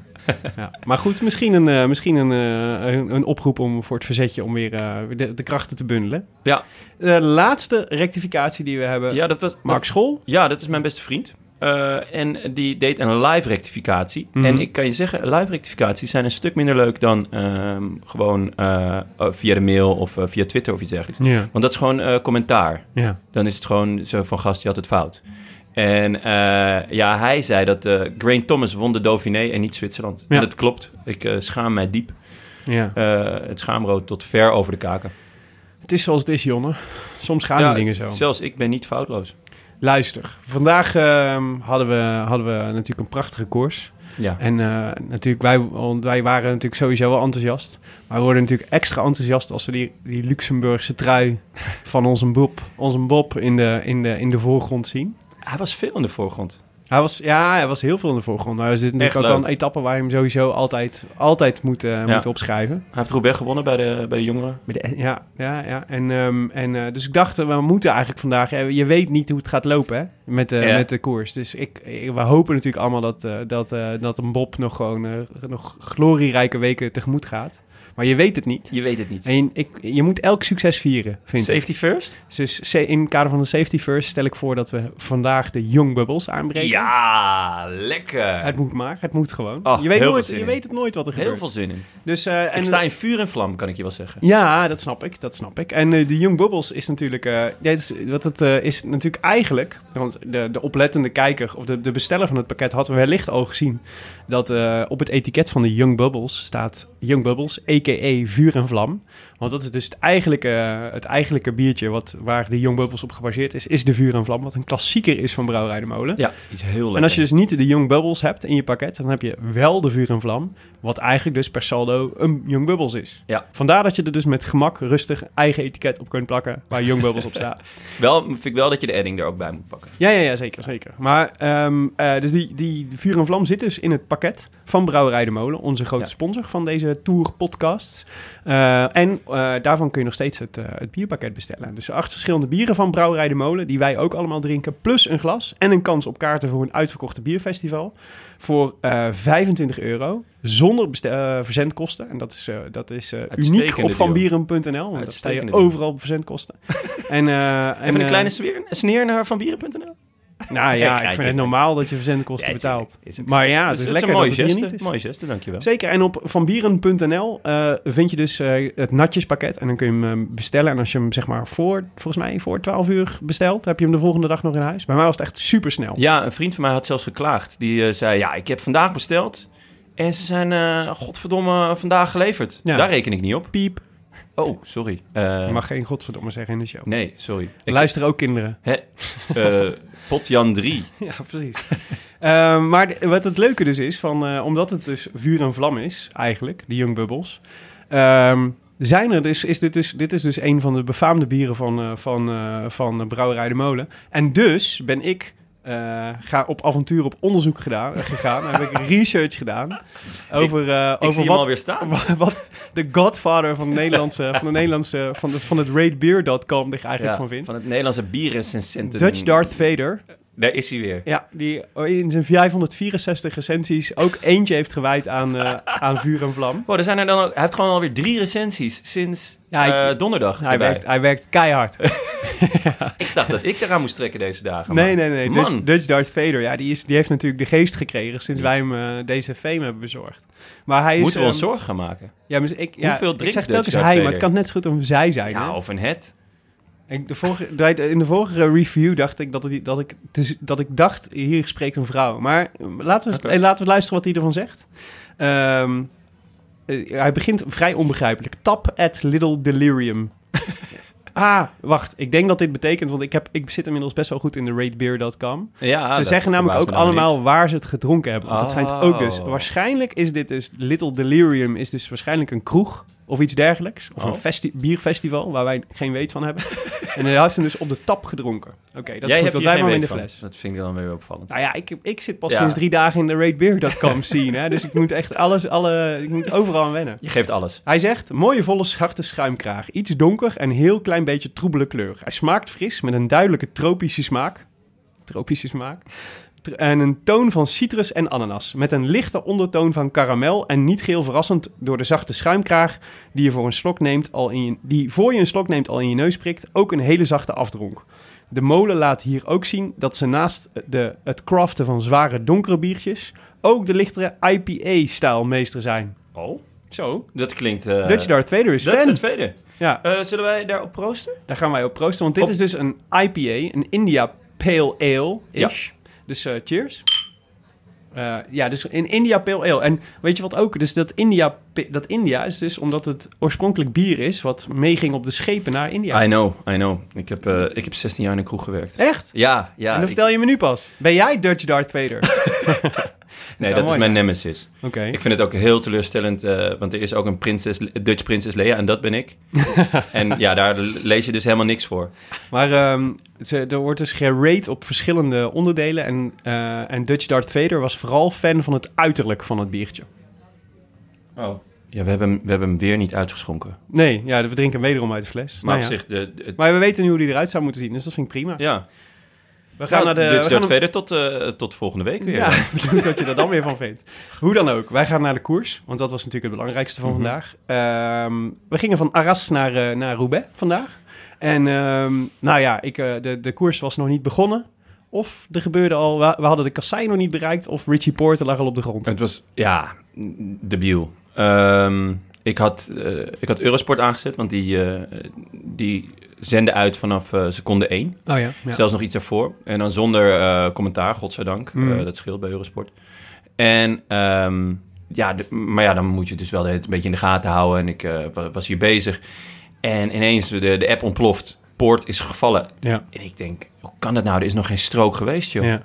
Speaker 1: Ja. Maar goed, misschien, een, eh, misschien een, eh, een, een oproep om voor het verzetje om weer eh, de, de krachten te bundelen.
Speaker 5: Ja.
Speaker 1: De laatste rectificatie die we hebben.
Speaker 5: Ja, dat was...
Speaker 1: eh, Mark School.
Speaker 5: Ja, dat is mijn beste vriend. Eh, en die deed een live rectificatie.
Speaker 1: Mhm.
Speaker 5: En ik kan je zeggen, live rectificaties zijn een stuk minder leuk dan ehm, gewoon eh, eh, via de mail of eh, via Twitter of iets dergelijks.
Speaker 1: Ja.
Speaker 5: Want dat is gewoon eh, commentaar.
Speaker 1: ja.
Speaker 5: Dan is het gewoon zo van gast, die had het fout. En eh, ja, hij zei dat eh Grain Thomas won de Dauphiné en niet Zwitserland.
Speaker 1: Ja.
Speaker 5: En dat klopt. Ik eh, schaam mij diep.
Speaker 1: ja.
Speaker 5: Eh, het schaamrood tot ver over de kaken.
Speaker 1: Het is zoals het is, Jonne. Soms gaan die dingen zo.
Speaker 5: Zelfs ik ben niet foutloos.
Speaker 1: Luister, vandaag ehm, hadden, we, hadden we natuurlijk een prachtige koers.
Speaker 5: Ja.
Speaker 1: En eh, natuurlijk, wij, want wij waren natuurlijk sowieso wel enthousiast. Maar we worden natuurlijk extra enthousiast als we die, die Luxemburgse trui van onze Bob, onze Bob in, de, in, de, in de voorgrond zien.
Speaker 5: Hij was veel in de voorgrond.
Speaker 1: Hij was, ja, hij was heel veel in de voorgrond. Nou, er zit natuurlijk
Speaker 5: Echt
Speaker 1: ook wel
Speaker 5: leuk.
Speaker 1: een etappe waar je hem sowieso altijd, altijd moet, eh, moet opschrijven.
Speaker 5: Hij heeft Roubaix gewonnen bij de, bij de jongeren.
Speaker 1: Met de- e- Ja, ja, ja. En, ehm, en, eh, dus ik dacht, we moeten eigenlijk vandaag... eh, Je weet niet hoe het gaat lopen, hè? Met, de
Speaker 5: Ja.
Speaker 1: met de koers. Dus ik, ik- we hopen natuurlijk allemaal dat, eh, dat, eh, dat een Bob nog gewoon eh, nog glorierijke weken tegemoet gaat. Maar je weet het niet.
Speaker 5: Je weet het niet.
Speaker 1: En ik, je moet elk succes vieren, vind ik.
Speaker 5: Safety first?
Speaker 1: Dus se- in het kader van de safety first stel ik voor dat we vandaag de Young Bubbles aanbreken.
Speaker 5: Ja, lekker.
Speaker 1: Het moet maar, het moet gewoon.
Speaker 5: Ah,
Speaker 1: je, weet
Speaker 5: heel
Speaker 1: nooit,
Speaker 5: veel zin
Speaker 1: je
Speaker 5: in.
Speaker 1: weet het nooit wat er gebeurt.
Speaker 5: Heel veel zin in.
Speaker 1: Dus, eh, en
Speaker 5: ik sta in vuur en vlam, kan ik je wel zeggen.
Speaker 1: Ja, dat snap ik, dat snap ik. En eh, de Young Bubbles is natuurlijk... eh, ja, het is, wat het eh, is natuurlijk eigenlijk... Want de, de oplettende kijker of de, de besteller van het pakket had wellicht al gezien... dat eh, op het etiket van de Young Bubbles staat Young Bubbles, a.k.a. vuur en vlam. Want dat is dus het eigenlijke, het eigenlijke biertje wat, waar de Young Bubbles op gebaseerd is... is de vuur en vlam, wat een klassieker is van Brouwerij de Molen.
Speaker 5: Ja, iets heel lekker.
Speaker 1: En als je dus niet de Young Bubbles hebt in je pakket, dan heb je wel de Vuur en Vlam. Wat eigenlijk dus per saldo een Young Bubbles is.
Speaker 5: Ja.
Speaker 1: Vandaar dat je er dus met gemak rustig eigen etiket op kunt plakken waar Young Bubbles op staat.
Speaker 5: Wel, vind ik wel dat je de edding er ook bij moet pakken.
Speaker 1: Ja, ja, ja zeker, zeker. Maar ehm, eh, dus die, die Vuur en Vlam zit dus in het pakket van Brouwerij de Molen, onze grote
Speaker 5: Ja.
Speaker 1: sponsor van deze Tour podcasts. Eh, en eh, daarvan kun je nog steeds het, eh, het bierpakket bestellen. Dus acht verschillende bieren van Brouwerij de Molen, die wij ook allemaal drinken, plus een glas en een kans op kaarten voor een uitverkochte bierfestival voor eh, 25 euro, zonder bestel- eh, verzendkosten. En dat is, eh, dat is eh, uniek op
Speaker 5: deal.
Speaker 1: vanbieren.nl, want daar sta
Speaker 5: Uitstekende
Speaker 1: je
Speaker 5: deal.
Speaker 1: overal op verzendkosten. en, eh, en,
Speaker 5: Even een
Speaker 1: eh,
Speaker 5: kleine sfeer, sneer naar vanbieren.nl.
Speaker 1: nou
Speaker 5: Ja,
Speaker 1: ja, ik
Speaker 5: tuurlijk.
Speaker 1: vind het normaal dat je verzendkosten
Speaker 5: Ja,
Speaker 1: betaalt.
Speaker 5: tuurlijk. Is ook zo.
Speaker 1: Maar ja,
Speaker 5: Ja,
Speaker 1: het
Speaker 5: dus
Speaker 1: is
Speaker 5: dat is
Speaker 1: lekker
Speaker 5: een mooie
Speaker 1: dat het hier
Speaker 5: geste.
Speaker 1: niet is.
Speaker 5: Mooie geste, dankjewel.
Speaker 1: Zeker, en op vanbieren.nl eh, vind je dus eh, het natjespakket en dan kun je hem eh, bestellen. En als je hem zeg maar voor, volgens mij voor 12 uur bestelt, heb je hem de volgende dag nog in huis. Bij mij was het echt super snel.
Speaker 5: Ja, een vriend van mij had zelfs geklaagd. Die eh, zei, ja, ik heb vandaag besteld. En ze zijn, eh, godverdomme, vandaag geleverd.
Speaker 1: Ja.
Speaker 5: Daar reken ik niet op.
Speaker 1: Piep,
Speaker 5: Oh, sorry. Eh,
Speaker 1: je mag geen godverdomme zeggen in de show.
Speaker 5: Nee, sorry. Ik,
Speaker 1: Luister ook kinderen.
Speaker 5: Hè? Eh, Potjan 3.
Speaker 1: Ja, precies. Eh, maar de- wat het leuke dus is, van, eh, omdat het dus vuur en vlam is eigenlijk, de Young Bubbles... ehm, zijn er dus, is dit, dus, dit is dus een van de befaamde bieren van, eh, van, eh, van eh, Brouwerij de Molen. En dus ben ik eh, ga op avontuur op onderzoek gedaan, eh, gegaan. Dan heb ik research gedaan over, eh,
Speaker 5: Ik
Speaker 1: over
Speaker 5: zie hem
Speaker 1: wat,
Speaker 5: alweer staan.
Speaker 1: wa- wat de godfather van, de Nederlandse, van, de Nederlandse, van, de, van het ratebeer.com er eigenlijk
Speaker 5: Ja,
Speaker 1: van vindt.
Speaker 5: van het Nederlandse bierrecensenten.
Speaker 1: Dutch Darth Vader.
Speaker 5: Daar is hij weer.
Speaker 1: Ja, die in zijn 564 recensies ook eentje heeft gewijd aan, eh, aan vuur en vlam.
Speaker 5: Wow, Oh, er zijn er dan ook, hij heeft gewoon alweer drie recensies sinds
Speaker 1: Ja, ik-
Speaker 5: eh, donderdag.
Speaker 1: Hij
Speaker 5: erbij.
Speaker 1: werkt, hij werkt keihard.
Speaker 5: Ik dacht dat ik eraan moest trekken deze dagen.
Speaker 1: Nee,
Speaker 5: maar-
Speaker 1: nee, nee. dus
Speaker 5: Man.
Speaker 1: Dutch, Dutch Darth Vader, ja, die, is, die heeft natuurlijk de geest gekregen sinds wij hem eh, deze fame hebben bezorgd. Maar hij is...
Speaker 5: Moeten we ons
Speaker 1: ehm,
Speaker 5: zorgen gaan maken?
Speaker 1: Ja, maar ik, ja,
Speaker 5: Hoeveel
Speaker 1: ik
Speaker 5: drinkt
Speaker 1: zeg
Speaker 5: Dutch
Speaker 1: telkens hij,
Speaker 5: Darth
Speaker 1: maar het
Speaker 5: Vader? Nou,
Speaker 1: kan net zo goed om zij zijn. hè?
Speaker 5: Ja, of een het.
Speaker 1: Ik, de vorige, bij de- in de vorige review dacht ik dat, het, dat, ik, dus- dat ik dacht, hier spreekt een vrouw. Maar eh, laten we, eens-
Speaker 5: Oké.
Speaker 1: eh, laten we luisteren wat hij ervan zegt. Ehm, eh, hij begint vrij onbegrijpelijk. Tap at Little Delirium. ah, wacht. Ik denk dat dit betekent, want ik, heb, ik zit inmiddels best wel goed in de ratebeer.com.
Speaker 5: Ja,
Speaker 1: ze
Speaker 5: Ah, dat
Speaker 1: zeggen namelijk ook
Speaker 5: verbaast me nou
Speaker 1: allemaal
Speaker 5: niks.
Speaker 1: waar ze het gedronken hebben. Want dat schijnt ook dus.
Speaker 5: Oh.
Speaker 1: Waarschijnlijk is dit dus... Little Delirium is dus waarschijnlijk een kroeg of iets dergelijks. Of
Speaker 5: Oh.
Speaker 1: een festi- bierfestival waar wij geen weet van hebben. en hij heeft hem dus op de tap gedronken. Oké, dat is
Speaker 5: Jij
Speaker 1: goed,
Speaker 5: hebt
Speaker 1: want
Speaker 5: hier
Speaker 1: wij
Speaker 5: geen
Speaker 1: maar in de
Speaker 5: weet van.
Speaker 1: fles.
Speaker 5: Dat vind ik dan weer opvallend.
Speaker 1: Nou ja, ik, ik zit pas
Speaker 5: Ja.
Speaker 1: sinds drie dagen in de ratebeer.com scene. Hè? Dus ik moet echt alles, alle, ik moet overal aan wennen.
Speaker 5: Je geeft alles.
Speaker 1: Hij zegt, mooie volle scharte schuimkraag. Iets donker en heel klein beetje troebele kleur. Hij smaakt fris met een duidelijke tropische smaak. Tropische smaak. Tr- En een toon van citrus en ananas. Met een lichte ondertoon van karamel. En niet geheel verrassend door de zachte schuimkraag die je, voor een slok neemt al in je, die voor je een slok neemt al in je neus prikt. Ook een hele zachte afdronk. De molen laat hier ook zien dat ze naast de, het craften van zware donkere biertjes... ook de lichtere IPA-stijl meester zijn.
Speaker 5: Oh,
Speaker 1: Zo,
Speaker 5: dat klinkt... eh,
Speaker 1: Dutch Darth Vader is
Speaker 5: Dat is
Speaker 1: fan.
Speaker 5: het tweede.
Speaker 1: Ja, eh,
Speaker 5: Eh, zullen wij daarop proosten?
Speaker 1: daar gaan wij op proosten. Want dit
Speaker 5: Op-
Speaker 1: is dus een IPA, een India Pale Ale-ish. Dus eh, cheers. Eh, ja, dus in India Pale Ale. En weet je wat ook? Dus dat India, dat India is dus omdat het oorspronkelijk bier is... wat meeging op de schepen naar India.
Speaker 5: I know, I know. Ik heb, eh, ik heb 16 jaar in een kroeg gewerkt.
Speaker 1: Echt?
Speaker 5: Ja, ja.
Speaker 1: en
Speaker 5: ik-
Speaker 1: dat vertel je me nu pas. Ben jij Dutch Darth Vader? Oké.
Speaker 5: nee,
Speaker 1: wel
Speaker 5: dat
Speaker 1: mooi,
Speaker 5: is mijn nemesis. Ik
Speaker 1: Ik,
Speaker 5: vind het ook heel teleurstellend, eh, want er is ook een prinses, Dutch prinses Lea en dat ben ik. en ja, daar lees je dus helemaal niks voor.
Speaker 1: maar ehm, ze, er wordt dus gerate op verschillende onderdelen. En, eh, en Dutch Darth Vader was vooral fan van het uiterlijk van het biertje.
Speaker 5: Oh. Ja, we hebben, hem- we hebben hem weer niet uitgeschonken. Maar
Speaker 1: Nee, ja, we drinken hem wederom uit de fles. Nou
Speaker 5: op
Speaker 1: ja.
Speaker 5: zich, de, de- het-
Speaker 1: Maar we weten nu hoe die eruit zou moeten zien, dus dat vind ik prima.
Speaker 5: ja. Nou,
Speaker 1: we gaan naar de...
Speaker 5: Dutch
Speaker 1: we
Speaker 5: Dutch
Speaker 1: gaan
Speaker 5: verder tot, eh, tot volgende week weer.
Speaker 1: ja, benieuwd wat je er dan weer van vindt. Hoe dan ook, wij gaan naar de koers, want dat was natuurlijk het belangrijkste van vandaag. Ehm, we gingen van Arras naar, eh, naar Roubaix vandaag. En ehm, nou ja, ik, eh, de, de koers was nog niet begonnen. Of er gebeurde al, we, we hadden de kassei nog niet bereikt, of Richie Porter lag al op de grond.
Speaker 5: Het was, ja, debiel. Ehm, ik, had, eh, ik had Eurosport aangezet, want die, eh, die zenden uit vanaf eh, seconde 1.
Speaker 1: Oh ja,
Speaker 5: Zelfs nog iets daarvoor. En dan zonder eh, commentaar, godzijdank.
Speaker 1: Mm.
Speaker 5: Eh, dat scheelt bij Eurosport. En, ehm, ja, de- maar ja, dan moet je dus wel de- het een beetje in de gaten houden. En ik eh, wa- was hier bezig. En ineens, de, de app ontploft. Poort is gevallen.
Speaker 1: Ja.
Speaker 5: En ik denk, hoe kan dat nou? Er is nog geen strook geweest, joh.
Speaker 1: ja.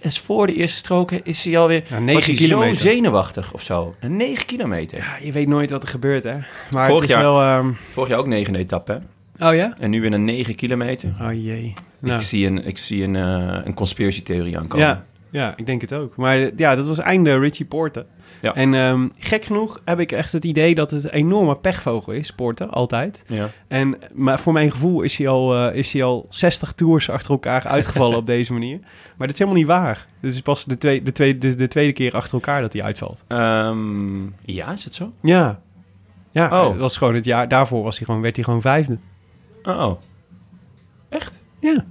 Speaker 5: En voor de eerste strook is hij alweer...
Speaker 1: Ja, negen
Speaker 5: was hij
Speaker 1: kilometer.
Speaker 5: zo zenuwachtig of zo. 9 kilometer.
Speaker 1: Ja, je weet nooit wat er gebeurt, hè. Maar
Speaker 5: Vorig
Speaker 1: het is
Speaker 5: jaar.
Speaker 1: wel... ehm,
Speaker 5: Vorig jaar ook negen etappe, hè?
Speaker 1: Oh ja?
Speaker 5: En nu weer een 9 kilometer.
Speaker 1: Oh jee. Nou.
Speaker 5: Ik zie een, ik zie een, eh, een conspiratietheorie aankomen.
Speaker 1: Ja, ja, ik denk het ook. Maar eh, ja, dat was einde Richie Porte.
Speaker 5: Ja.
Speaker 1: En ehm, gek genoeg heb ik echt het idee dat het een enorme pechvogel is, Porte, altijd.
Speaker 5: ja.
Speaker 1: En, maar voor mijn gevoel is hij al, eh, is hij al 60 tours achter elkaar uitgevallen op deze manier. Maar dat is helemaal niet waar. Dit is pas de, twee, de, twee, dus de, de tweede keer achter elkaar dat hij uitvalt.
Speaker 5: Ehm, ja, is het zo?
Speaker 1: Ja. Ja,
Speaker 5: Oh.
Speaker 1: dat was gewoon het jaar. Daarvoor was hij gewoon, werd hij gewoon vijfde.
Speaker 5: Oh,
Speaker 1: Ja.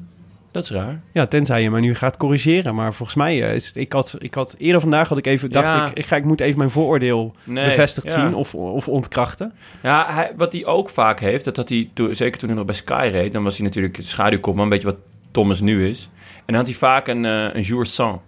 Speaker 5: dat is raar.
Speaker 1: Ja, tenzij je mij nu gaat corrigeren. Maar volgens mij eh, is het- ik had, ik had eerder vandaag had ik even dacht
Speaker 5: Ja.
Speaker 1: ik, ik, ga, ik moet even mijn vooroordeel
Speaker 5: Nee,
Speaker 1: bevestigd
Speaker 5: ja.
Speaker 1: zien of, of ontkrachten.
Speaker 5: Ja, hij, wat hij ook vaak heeft, dat had hij toen- zeker toen hij nog bij Sky reed, dan was hij natuurlijk schaduwkopman, een beetje wat Thomas nu is. En dan had hij vaak een, eh een jour sans,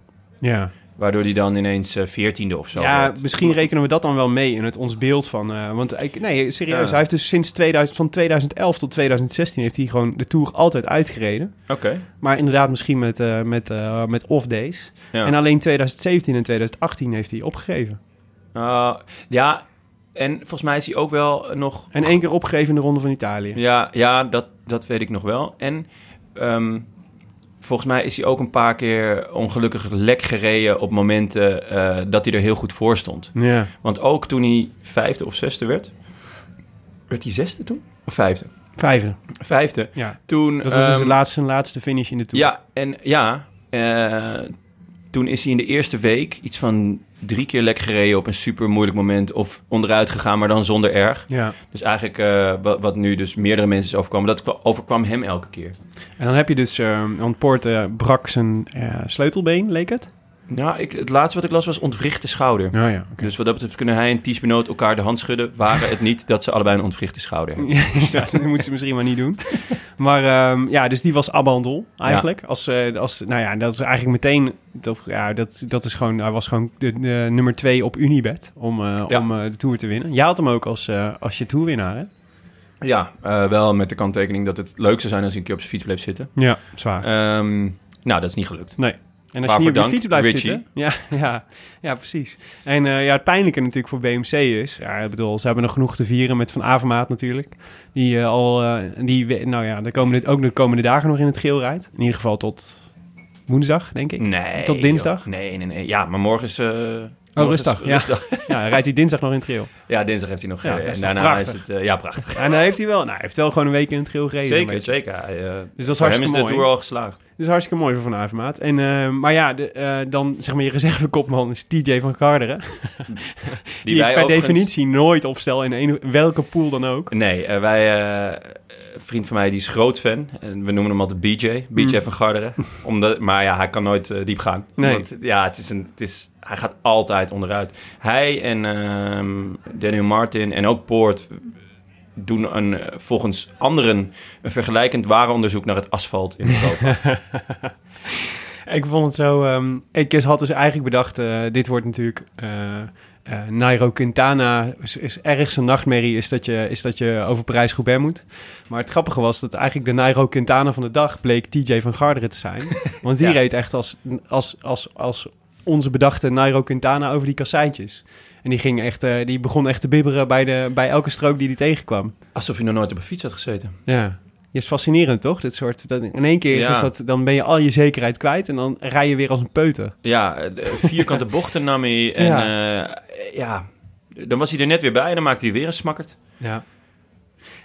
Speaker 1: Ja,
Speaker 5: waardoor hij dan ineens eh, veertiende of zo
Speaker 1: ja
Speaker 5: werd.
Speaker 1: misschien rekenen we dat dan wel mee in het ons beeld van. eh, want ik, nee, serieus,
Speaker 5: Ja.
Speaker 1: hij heeft dus sinds 2000, van 2011 tot 2016 heeft hij gewoon de Tour altijd uitgereden.
Speaker 5: Oké,
Speaker 1: Maar inderdaad, misschien met, eh, met, eh, met off days.
Speaker 5: ja.
Speaker 1: En alleen 2017 en 2018 heeft hij opgegeven.
Speaker 5: Ah, ja, en volgens mij is hij ook wel nog...
Speaker 1: En één keer opgegeven in de Ronde van Italië.
Speaker 5: Ja, ja dat, dat weet ik nog wel. En ehm, volgens mij is hij ook een paar keer ongelukkig lek gereden op momenten eh, dat hij er heel goed voor stond.
Speaker 1: Ja.
Speaker 5: Want ook toen hij vijfde of zesde werd... Werd hij zesde toen? Of vijfde?
Speaker 1: Vijfde.
Speaker 5: Vijfde.
Speaker 1: Ja.
Speaker 5: Toen,
Speaker 1: Dat was dus
Speaker 5: ehm,
Speaker 1: zijn laatste, zijn laatste finish in de Tour.
Speaker 5: Ja, en ja... eh, toen is hij in de eerste week iets van drie keer lek gereden op een super moeilijk moment. Of onderuit gegaan, maar dan zonder erg.
Speaker 1: ja.
Speaker 5: Dus eigenlijk eh, wat, wat nu dus meerdere mensen is overkomen, dat kwa- overkwam hem elke keer.
Speaker 1: En dan heb je dus, ehm want Poort brak zijn eh, sleutelbeen, leek het.
Speaker 5: Nou, ik, het laatste wat ik las was ontwrichte schouder.
Speaker 1: Oh Ja, ja.
Speaker 5: Dus wat dat betreft kunnen hij en Ties Benoot elkaar de hand schudden... waren het niet dat ze allebei een ontwrichte schouder hebben.
Speaker 1: Ja, dat moeten ze misschien maar niet doen. Maar ehm, ja, dus die was abandon eigenlijk. Als, eh, als, nou ja, dat is eigenlijk meteen... Dat, ja, dat, dat is gewoon... Hij was gewoon de, de nummer twee op Unibet om, eh,
Speaker 5: Ja.
Speaker 1: om eh, de Tour te winnen. Jij had hem ook als, eh, als je Tourwinnaar, hè?
Speaker 5: Ja, eh, wel met de kanttekening dat het leuk zou zijn als hij een keer op zijn fiets bleef zitten.
Speaker 1: Ja, zwaar.
Speaker 5: Ehm, nou, dat is niet gelukt.
Speaker 1: Nee. En als je
Speaker 5: Waarvoor
Speaker 1: niet op je
Speaker 5: dank,
Speaker 1: fiets blijft
Speaker 5: Richie.
Speaker 1: zitten. Ja, ja, ja, precies. En eh, ja, het pijnlijke natuurlijk voor BMC is... Ja, ik bedoel, ze hebben nog genoeg te vieren met Van Avermaat natuurlijk. Die eh, al... eh, die, we- nou ja, de komende, ook de komende dagen nog in het geel rijdt. In ieder geval tot woensdag, denk ik.
Speaker 5: Nee.
Speaker 1: Tot dinsdag? Oh,
Speaker 5: joh. Nee, nee, nee. Ja, maar morgen is... eh, morgen is
Speaker 1: rustdag, ja. Ja, dan rijdt hij dinsdag nog in het geel.
Speaker 5: Ja, dinsdag heeft hij nog
Speaker 1: Ja,
Speaker 5: gereden.
Speaker 1: dat is
Speaker 5: en
Speaker 1: toch
Speaker 5: daarna
Speaker 1: prachtig?
Speaker 5: is het... eh, ja, prachtig.
Speaker 1: En dan heeft hij wel, nou, hij heeft wel gewoon een week in het geel gereden.
Speaker 5: Zeker,
Speaker 1: weet je.
Speaker 5: zeker. Hij, eh,
Speaker 1: Dus dat is
Speaker 5: voor hem is
Speaker 1: hartstikke
Speaker 5: de
Speaker 1: mooi.
Speaker 5: Tour al geslaagd.
Speaker 1: Dat is hartstikke mooi voor Van Avermaat. En, eh, maar ja, de, eh, dan zeg maar je reservekopman is TJ van Garderen.
Speaker 5: Die,
Speaker 1: Die, ik per
Speaker 5: overigens-
Speaker 1: definitie nooit opstel in een, welke pool dan ook.
Speaker 5: Nee, eh, wij... eh, een vriend van mij die is groot fan. En we noemen hem altijd BJ. BJ van Garderen. Omdat, maar ja, hij kan nooit eh, diep gaan.
Speaker 1: Hmm. Nee.
Speaker 5: Want, ja, het is een, het is, hij gaat altijd onderuit. Hij en ehm, Daniel Martin en ook Poort doen een, eh, volgens anderen een vergelijkend ware onderzoek naar het asfalt in Europa.
Speaker 1: Ik vond het zo... ehm ik had dus eigenlijk bedacht, eh, dit wordt natuurlijk... eh, eh, Nairo Quintana is, is ergste nachtmerrie is dat je, is dat je over Parijs-Roubaix moet. Maar het grappige was dat eigenlijk de Nairo Quintana van de dag bleek TJ van Garderen te zijn. Want die
Speaker 5: Ja.
Speaker 1: reed echt als, als, als, als onze bedachte Nairo Quintana over die kasseitjes. En die, ging echt, eh, die begon echt te bibberen bij, de, bij elke strook die hij tegenkwam.
Speaker 5: Alsof je nog nooit op een fiets had gezeten.
Speaker 1: Ja. Ja, is fascinerend, toch? Dit soort, dat in één keer
Speaker 5: Ja.
Speaker 1: is dat, dan ben je al je zekerheid kwijt en dan rij je weer als een peuter.
Speaker 5: Ja, eh, de vierkante bochten nam hij. En ja. ja, dan was hij er net weer bij en dan maakte hij weer een smakkert.
Speaker 1: Ja.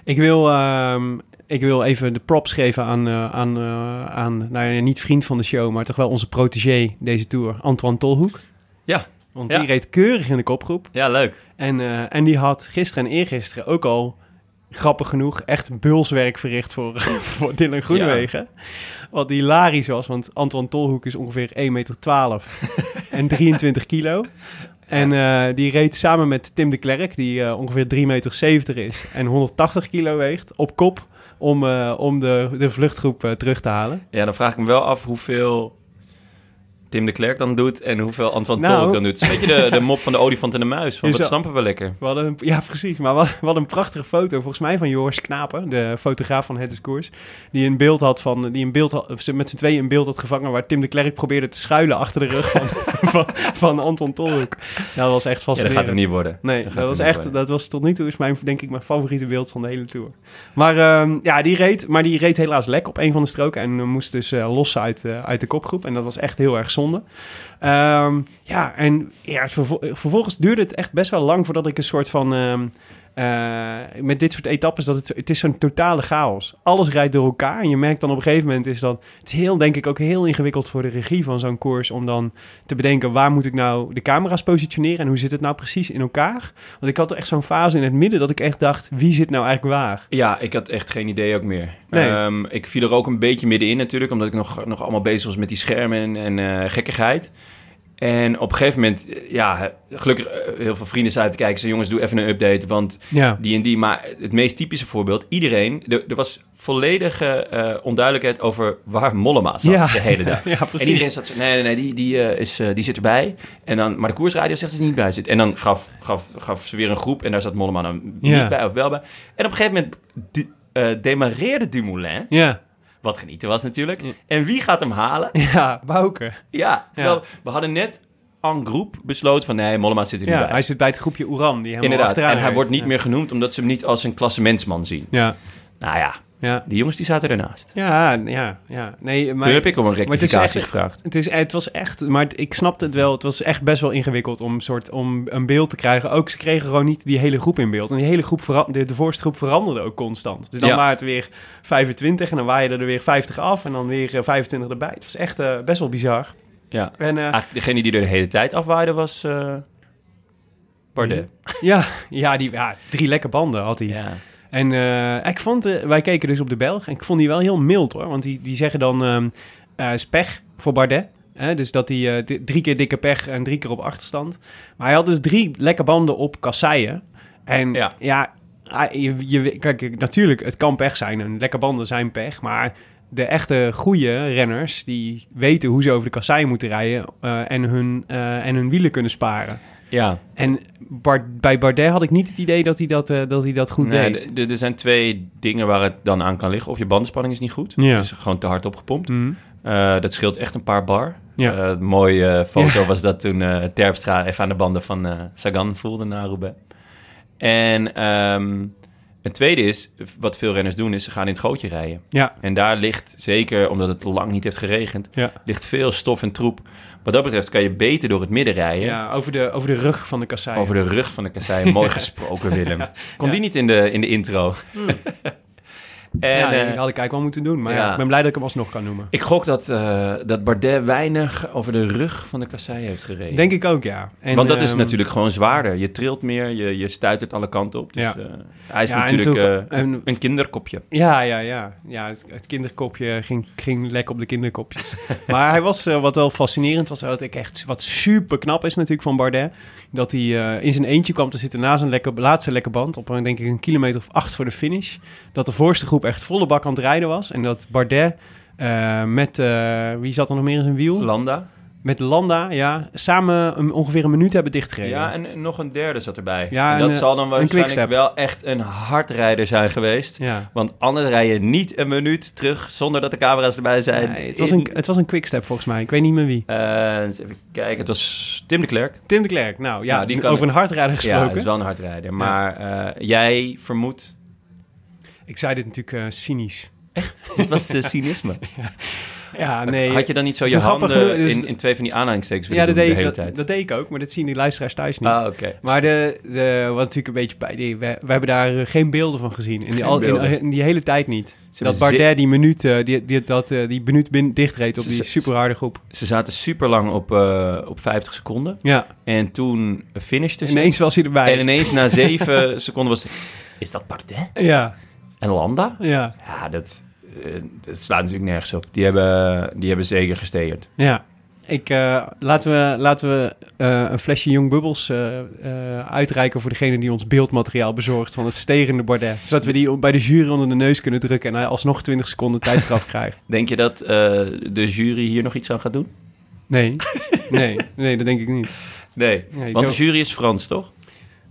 Speaker 1: Ik wil, ehm, ik wil even de props geven aan, eh, aan, eh, aan nou ja, niet vriend van de show, maar toch wel onze protégé deze tour, Antoine Tolhoek.
Speaker 5: Ja.
Speaker 1: Want
Speaker 5: Ja.
Speaker 1: die reed keurig in de kopgroep.
Speaker 5: Ja, leuk.
Speaker 1: En, eh, en die had gisteren en eergisteren ook al, grappig genoeg, echt bulswerk verricht voor, voor Dylan Groenewegen. Wat hilarisch was, want Anton Tolhoek is ongeveer 1,12 meter en 23 kilo. En eh, die reed samen met Tim de Klerk, die eh, ongeveer 3,70 meter is en 180 kilo weegt, op kop om, eh, om de, de vluchtgroep eh, terug te halen.
Speaker 5: Ja, dan vraag ik me wel af hoeveel Tim de Klerk dan doet en hoeveel Antoine
Speaker 1: Nou.
Speaker 5: Tolk dan doet. Het is een beetje de, de mop van de olifant en de muis.
Speaker 1: Dus
Speaker 5: Want dat
Speaker 1: al-
Speaker 5: snappen we lekker.
Speaker 1: Wat een, ja, precies. Maar wat, wat een prachtige foto, volgens mij, van Joris Knapen, de fotograaf van Het is Koers. Die een beeld had van, die een beeld had, of ze met z'n tweeën een beeld had gevangen waar Tim de Klerk probeerde te schuilen achter de rug van, van, van Anton Tolhoek. dat was echt
Speaker 5: Ja, dat gaat
Speaker 1: fascinerend.
Speaker 5: hem niet worden.
Speaker 1: Nee,
Speaker 5: eh, gaat
Speaker 1: dat was
Speaker 5: hem niet
Speaker 1: echt,
Speaker 5: worden.
Speaker 1: dat was tot nu toe is mijn, denk ik, mijn favoriete beeld van de hele tour. Maar ehm, ja, die reed, maar die reed helaas lek op een van de stroken en eh, moest dus eh lossen uit, eh, uit de kopgroep. En dat was echt heel erg zonde. Ehm, ja, en ja, vervo- eh, vervolgens duurde het echt best wel lang voordat ik een soort van... ehm, eh, met dit soort etappes, dat het, zo- het is zo'n totale chaos. Alles rijdt door elkaar en je merkt dan op een gegeven moment is dan... Het is heel, denk ik, ook heel ingewikkeld voor de regie van zo'n koers om dan te bedenken waar moet ik nou de camera's positioneren en hoe zit het nou precies in elkaar. Want ik had echt zo'n fase in het midden dat ik echt dacht, wie zit nou eigenlijk waar?
Speaker 5: Ja, ik had echt geen idee ook meer.
Speaker 1: Nee.
Speaker 5: Ehm, ik viel er ook een beetje middenin natuurlijk, omdat ik nog, nog allemaal bezig was met die schermen en, en eh, gekkigheid. En op een gegeven moment, eh, ja, gelukkig eh, heel veel vrienden zaten te kijken. Ze jongens, doe even een update, want
Speaker 1: Ja.
Speaker 5: die en die. Maar het meest typische voorbeeld, iedereen, er, er was volledige eh, onduidelijkheid over waar Mollema zat
Speaker 1: Ja.
Speaker 5: de hele dag.
Speaker 1: Ja,
Speaker 5: En
Speaker 1: precies.
Speaker 5: iedereen zat zo, nee, nee, nee, die, die, eh, is, eh, die zit erbij. En dan, maar de koersradio zegt dat hij niet bij zit. En dan gaf, gaf, gaf ze weer een groep en daar zat Mollema dan
Speaker 1: Ja.
Speaker 5: niet bij of wel bij. En op een gegeven moment de, eh, demareerde Dumoulin,
Speaker 1: Ja,
Speaker 5: wat genieten was natuurlijk. En wie gaat hem halen?
Speaker 1: ja, Bouke.
Speaker 5: Ja, terwijl we hadden net en groep besloten van nee, Mollema zit er niet
Speaker 1: Ja,
Speaker 5: bij.
Speaker 1: hij zit bij het groepje Oeran, die helemaal
Speaker 5: Inderdaad,
Speaker 1: achteraan
Speaker 5: en hij
Speaker 1: rijdt.
Speaker 5: wordt niet
Speaker 1: Ja.
Speaker 5: meer genoemd omdat ze hem niet als een klassementsman zien.
Speaker 1: Ja,
Speaker 5: Nou ja,
Speaker 1: ja.
Speaker 5: die jongens die zaten ernaast.
Speaker 1: Ja, ja, ja. Nee, maar...
Speaker 5: Toen heb ik om een
Speaker 1: maar het is
Speaker 5: rectificatie
Speaker 1: echt-
Speaker 5: gevraagd.
Speaker 1: Het, is, het was echt, maar het- ik snapte het wel. Het was echt best wel ingewikkeld om, soort, om een beeld te krijgen. Ook ze kregen gewoon niet die hele groep in beeld. En die hele groep, vera- de, de voorste groep veranderde ook constant. Dus dan
Speaker 5: Ja.
Speaker 1: waren het weer 25 en dan waaiden er weer 50 af en dan weer eh, 25 erbij. Het was echt eh, best wel bizar.
Speaker 5: Ja.
Speaker 1: En, eh,
Speaker 5: Eigenlijk degene die er de hele tijd afwaaide was eh Bardet.
Speaker 1: ja, ja, die, ja, drie lekke banden had hij.
Speaker 5: Ja.
Speaker 1: En eh, ik vond, eh, wij keken dus op de Belg en ik vond die wel heel mild hoor. Want die, die zeggen dan ehm eh, is pech voor Bardet. Hè? Dus dat hij eh, di- drie keer dikke pech en drie keer op achterstand. Maar hij had dus drie lekke banden op kasseien. En ja,
Speaker 5: Ja.
Speaker 1: ah, je, je, kijk, natuurlijk, het kan pech zijn. En lekke banden zijn pech. Maar de echte goede renners, die weten hoe ze over de kasseien moeten rijden. eh, en, hun, eh, en hun wielen kunnen sparen.
Speaker 5: ja.
Speaker 1: En Bar- bij Bardet had ik niet het idee dat hij dat, eh, dat, hij dat goed
Speaker 5: Nee,
Speaker 1: deed.
Speaker 5: d- d- er zijn twee dingen waar het dan aan kan liggen. Of je bandenspanning is niet goed.
Speaker 1: Ja.
Speaker 5: Dus gewoon te hard opgepompt.
Speaker 1: Mhm.
Speaker 5: Eh, dat scheelt echt een paar bar.
Speaker 1: Ja.
Speaker 5: Eh, een mooie eh, foto was dat toen eh, Terpstra even aan de banden van eh, Sagan voelde na Roubaix. En ehm een tweede is, wat veel renners doen, is ze gaan in het gootje rijden.
Speaker 1: Ja,
Speaker 5: En daar ligt, zeker omdat het lang niet heeft geregend,
Speaker 1: ja.
Speaker 5: ligt veel stof en troep. Wat dat betreft kan je beter door het midden rijden.
Speaker 1: ja over, de, over de rug van de kassei.
Speaker 5: Over de rug van de kassei. Mooi gesproken, Willem. Kon die niet in de, in de intro? en,
Speaker 1: Hmm. ja, die
Speaker 5: eh,
Speaker 1: had ik eigenlijk wel moeten doen. Maar ja,
Speaker 5: ja.
Speaker 1: ik ben blij dat ik hem alsnog kan noemen.
Speaker 5: ik gok dat, eh, dat Bardet weinig over de rug van de kassei heeft gereden.
Speaker 1: Denk ik ook, ja. En,
Speaker 5: Want dat is
Speaker 1: ehm,
Speaker 5: natuurlijk gewoon zwaarder. Je trilt meer, je, je stuit het alle kanten op. Dus
Speaker 1: Ja.
Speaker 5: eh, hij is
Speaker 1: Ja, en
Speaker 5: natuurlijk
Speaker 1: toen-
Speaker 5: eh,
Speaker 1: en-
Speaker 5: een kinderkopje.
Speaker 1: Ja, ja, ja. ja het, het kinderkopje ging, ging lek op de kinderkopjes. maar hij was, eh, wat wel fascinerend was, wat, ik echt, wat super knap is natuurlijk van Bardet, dat hij eh, in zijn eentje kwam te zitten na zijn lekker, laatste lekke band, op een, denk ik een kilometer of acht voor de finish. Dat de voorste groep echt volle bak aan het rijden was. En dat Bardet eh, met, eh, wie zat er nog meer in zijn wiel?
Speaker 5: Landa.
Speaker 1: met Landa, ja, samen een- ongeveer een minuut hebben dichtgereden.
Speaker 5: Ja, en, en nog een derde zat erbij.
Speaker 1: Ja,
Speaker 5: en dat
Speaker 1: een, eh,
Speaker 5: zal dan waarschijnlijk
Speaker 1: quickstep.
Speaker 5: wel echt een hardrijder zijn geweest.
Speaker 1: ja.
Speaker 5: Want anders rij je niet een minuut terug zonder dat de camera's erbij zijn.
Speaker 1: Nee, het, was een, het was een quickstep volgens mij. Ik weet niet meer wie.
Speaker 5: Eh, eens even kijken, het was Tim de Klerk.
Speaker 1: Tim de Klerk. Nou ja,
Speaker 5: Nou, die kan-
Speaker 1: over een hardrijder
Speaker 5: Ja,
Speaker 1: gesproken.
Speaker 5: het is wel een hardrijder. Maar eh, jij vermoedt...
Speaker 1: Ik zei dit natuurlijk eh, cynisch.
Speaker 5: Dit was eh, cynisme.
Speaker 1: Ja, nee.
Speaker 5: Had je dan niet zo je
Speaker 1: Toen grappig
Speaker 5: handen
Speaker 1: genoeg- dus-
Speaker 5: in, in twee van die aanhalingstekens
Speaker 1: ja,
Speaker 5: willen
Speaker 1: dat
Speaker 5: doen
Speaker 1: deed,
Speaker 5: de
Speaker 1: ik,
Speaker 5: hele
Speaker 1: dat,
Speaker 5: tijd?
Speaker 1: dat deed ik ook, maar dat zien die luisteraars thuis niet.
Speaker 5: ah, oké.
Speaker 1: Maar de, de, wat natuurlijk een beetje bij die, we, we hebben daar eh, geen beelden van gezien. In die, al, in,
Speaker 5: beelden.
Speaker 1: in die hele tijd niet.
Speaker 5: Ze
Speaker 1: dat
Speaker 5: hebben
Speaker 1: Bardet die minuut, eh, die, die, dat, eh, die minuut bin, dichtreed op
Speaker 5: Ze-
Speaker 1: die
Speaker 5: ze-
Speaker 1: superharde groep.
Speaker 5: Ze zaten super lang op, eh, op 50 seconden.
Speaker 1: Ja,
Speaker 5: En toen finishte ze.
Speaker 1: ineens was hij erbij.
Speaker 5: En ineens na 7 seconden was het... Is dat Bardet?
Speaker 1: Ja,
Speaker 5: En Landa?
Speaker 1: ja,
Speaker 5: Ja, dat, eh, dat slaat natuurlijk nergens op. Die hebben, die hebben zeker gesteerd.
Speaker 1: ja. Ik, eh, laten we, laten we eh, een flesje Jong Bubbels eh, eh, uitreiken voor degene die ons beeldmateriaal bezorgt van het sterende Bardet. Zodat we die bij de jury onder de neus kunnen drukken en hij alsnog 20 seconden tijdstraf krijgt.
Speaker 5: Denk je dat eh, de jury hier nog iets aan gaat doen?
Speaker 1: Nee, nee, nee, dat denk ik niet.
Speaker 5: Nee.
Speaker 1: Nee,
Speaker 5: Want
Speaker 1: zo-
Speaker 5: de jury is Frans, toch?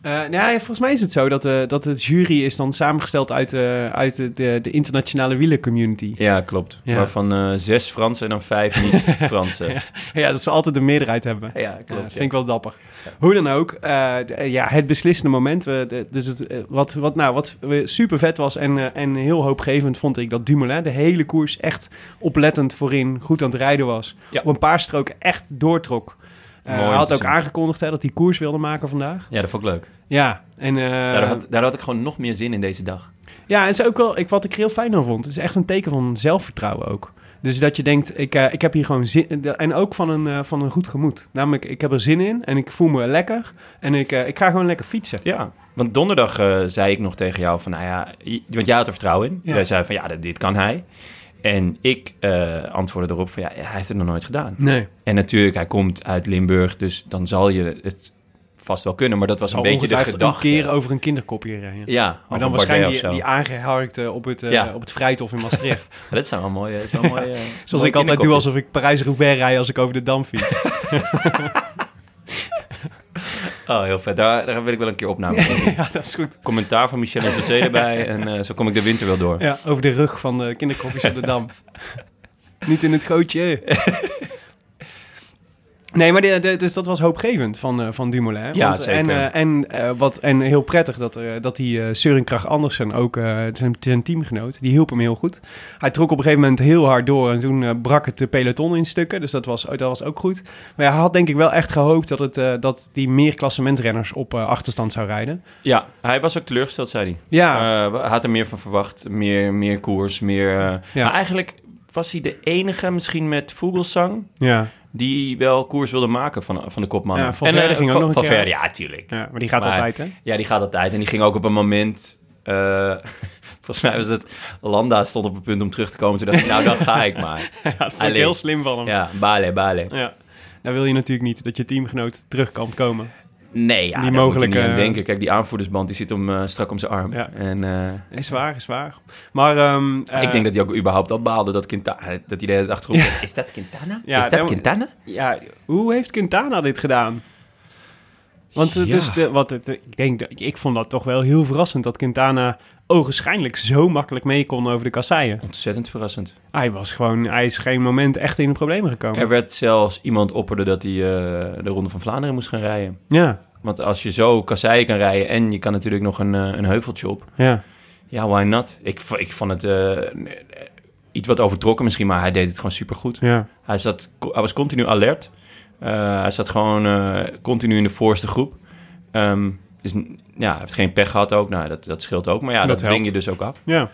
Speaker 1: Eh, nou ja, volgens mij is het zo dat, eh dat het jury is dan samengesteld uit, eh, uit de, de, de internationale wielencommunity.
Speaker 5: Ja, klopt.
Speaker 1: Ja.
Speaker 5: Waarvan eh, zes Fransen en dan vijf niet-Fransen. ja.
Speaker 1: Ja, dat ze altijd de meerderheid hebben. Ja,
Speaker 5: klopt.
Speaker 1: Eh, vind ik wel dapper. Hoe dan ook, eh, d- eh, ja, het beslissende moment. we- de- dus het, eh, wat, wat, nou, wat super vet was en, eh, en heel hoopgevend vond ik dat Dumoulin de hele koers echt oplettend voorin goed aan het rijden was.
Speaker 5: Ja.
Speaker 1: Op een paar stroken echt doortrok. Eh,
Speaker 5: Mooi om
Speaker 1: hij had
Speaker 5: te
Speaker 1: ook
Speaker 5: zien.
Speaker 1: aangekondigd hè, dat hij koers wilde maken vandaag.
Speaker 5: Ja, dat vond ik leuk.
Speaker 1: Ja, en, eh,
Speaker 5: Daar had, daar had ik gewoon nog meer zin in deze dag.
Speaker 1: Ja, en is ook wel, ik, wat ik er heel fijn aan vond, het is echt een teken van zelfvertrouwen ook. Dus dat je denkt, ik, eh, ik heb hier gewoon zin En ook van een, eh, van een goed gemoed. Namelijk, ik heb er zin in en ik voel me lekker. En ik, eh, ik ga gewoon lekker fietsen.
Speaker 5: Ja. Want donderdag eh, zei ik nog tegen jou van, nou ja... je- Want jij had er vertrouwen in.
Speaker 1: Ja.
Speaker 5: Jij zei van, ja, dit, dit kan hij. En ik eh, antwoordde erop van, ja, hij heeft het nog nooit gedaan.
Speaker 1: Nee.
Speaker 5: En natuurlijk, hij komt uit Limburg, dus dan zal je het vast wel kunnen. Maar dat was een beetje de
Speaker 1: een
Speaker 5: gedachte.
Speaker 1: keer over een eh, kinderkopje rijden.
Speaker 5: Ja,
Speaker 1: maar
Speaker 5: over
Speaker 1: dan
Speaker 5: Bardet
Speaker 1: waarschijnlijk
Speaker 5: of
Speaker 1: die,
Speaker 5: zo.
Speaker 1: die aangeharkte op het, eh,
Speaker 5: Ja.
Speaker 1: op het Vrijthof in Maastricht.
Speaker 5: Ja, dat zijn wel mooie... dat zijn wel mooie eh,
Speaker 1: Zoals
Speaker 5: mooie
Speaker 1: ik altijd doe
Speaker 5: kinderkopjes.
Speaker 1: alsof ik Parijs-Roubaix rij als ik over de Dam fiets.
Speaker 5: Oh, heel vet. Daar, daar wil ik wel een keer opname van doen.
Speaker 1: ja, dat is goed.
Speaker 5: Commentaar van Michel en José erbij. En eh, zo kom ik de winter wel door.
Speaker 1: Ja, over de rug van de kinderkopjes op de dam. Niet in het gootje. Nee, maar de, de- dus dat was hoopgevend van, eh, van Dumoulin.
Speaker 5: Ja, zeker.
Speaker 1: En, eh, en, eh, wat, en heel prettig dat, eh, dat die eh, Søren Kragh Andersen, ook eh, zijn, zijn teamgenoot, die hielp hem heel goed. Hij trok op een gegeven moment heel hard door en toen eh, brak het de peloton in stukken. Dus dat was, dat was ook goed. Maar ja, hij had denk ik wel echt gehoopt dat, het, eh, dat die meer klassementrenners op eh, achterstand zou rijden.
Speaker 5: Ja, hij was ook teleurgesteld, zei hij.
Speaker 1: Ja,
Speaker 5: Eh, hij had er meer van verwacht. Meer, meer koers, meer... eh,
Speaker 1: Ja.
Speaker 5: Maar eigenlijk was hij de enige misschien met Vogelsang...
Speaker 1: ja.
Speaker 5: die wel koers wilde maken van, van de kopman.
Speaker 1: Ja, Valverde
Speaker 5: eh,
Speaker 1: ging ook nog een
Speaker 5: Valverde,
Speaker 1: keer.
Speaker 5: ja, tuurlijk.
Speaker 1: ja, maar die gaat
Speaker 5: Maar-
Speaker 1: altijd, hè?
Speaker 5: Ja, die gaat altijd. En die ging ook op een moment... eh, volgens mij was het... Landa stond op het punt om terug te komen. Toen dacht ik, nou, dan ga ik maar.
Speaker 1: Ja, dat vond ik
Speaker 5: Alleen.
Speaker 1: heel slim van hem. Ja.
Speaker 5: Ja, bale, bale.
Speaker 1: Nou wil je natuurlijk niet dat je teamgenoot terug kan komen.
Speaker 5: Nee, ja,
Speaker 1: Die
Speaker 5: daar moet je
Speaker 1: mogelijke-
Speaker 5: niet aan denken. Kijk, die aanvoerdersband die zit om, eh, strak om zijn arm.
Speaker 1: Ja.
Speaker 5: En eh,
Speaker 1: Is waar, is waar. Maar ehm, eh,
Speaker 5: ik denk dat hij ook überhaupt al baalde dat Quintana... Dat idee achterop... Is dat Quintana?
Speaker 1: Ja,
Speaker 5: is dat
Speaker 1: daar-
Speaker 5: Quintana?
Speaker 1: Ja, hoe heeft Quintana dit gedaan? Want eh,
Speaker 5: Ja.
Speaker 1: dus de, wat het, eh, ik, denk, dat- ik vond dat toch wel heel verrassend dat Quintana ogenschijnlijk zo makkelijk mee kon over de kasseien.
Speaker 5: Ontzettend verrassend.
Speaker 1: Hij was gewoon, hij is geen moment echt in de problemen gekomen.
Speaker 5: Er werd zelfs iemand opperde dat hij eh, de Ronde van Vlaanderen moest gaan rijden.
Speaker 1: Ja,
Speaker 5: Want als je zo kasseien kan rijden en je kan natuurlijk nog een, eh, een heuveltje op.
Speaker 1: ja.
Speaker 5: Ja, why not? Ik, v- ik vond het eh, iets wat overtrokken misschien, maar hij deed het gewoon supergoed.
Speaker 1: Ja,
Speaker 5: Hij, zat, hij was continu alert. Eh, hij zat gewoon eh, continu in de voorste groep. Ehm, is, n- ja, hij heeft geen pech gehad ook. Nou, dat, dat scheelt ook. Maar ja,
Speaker 1: Dat
Speaker 5: dat, dwing
Speaker 1: helpt.
Speaker 5: je dus ook af.
Speaker 1: ja.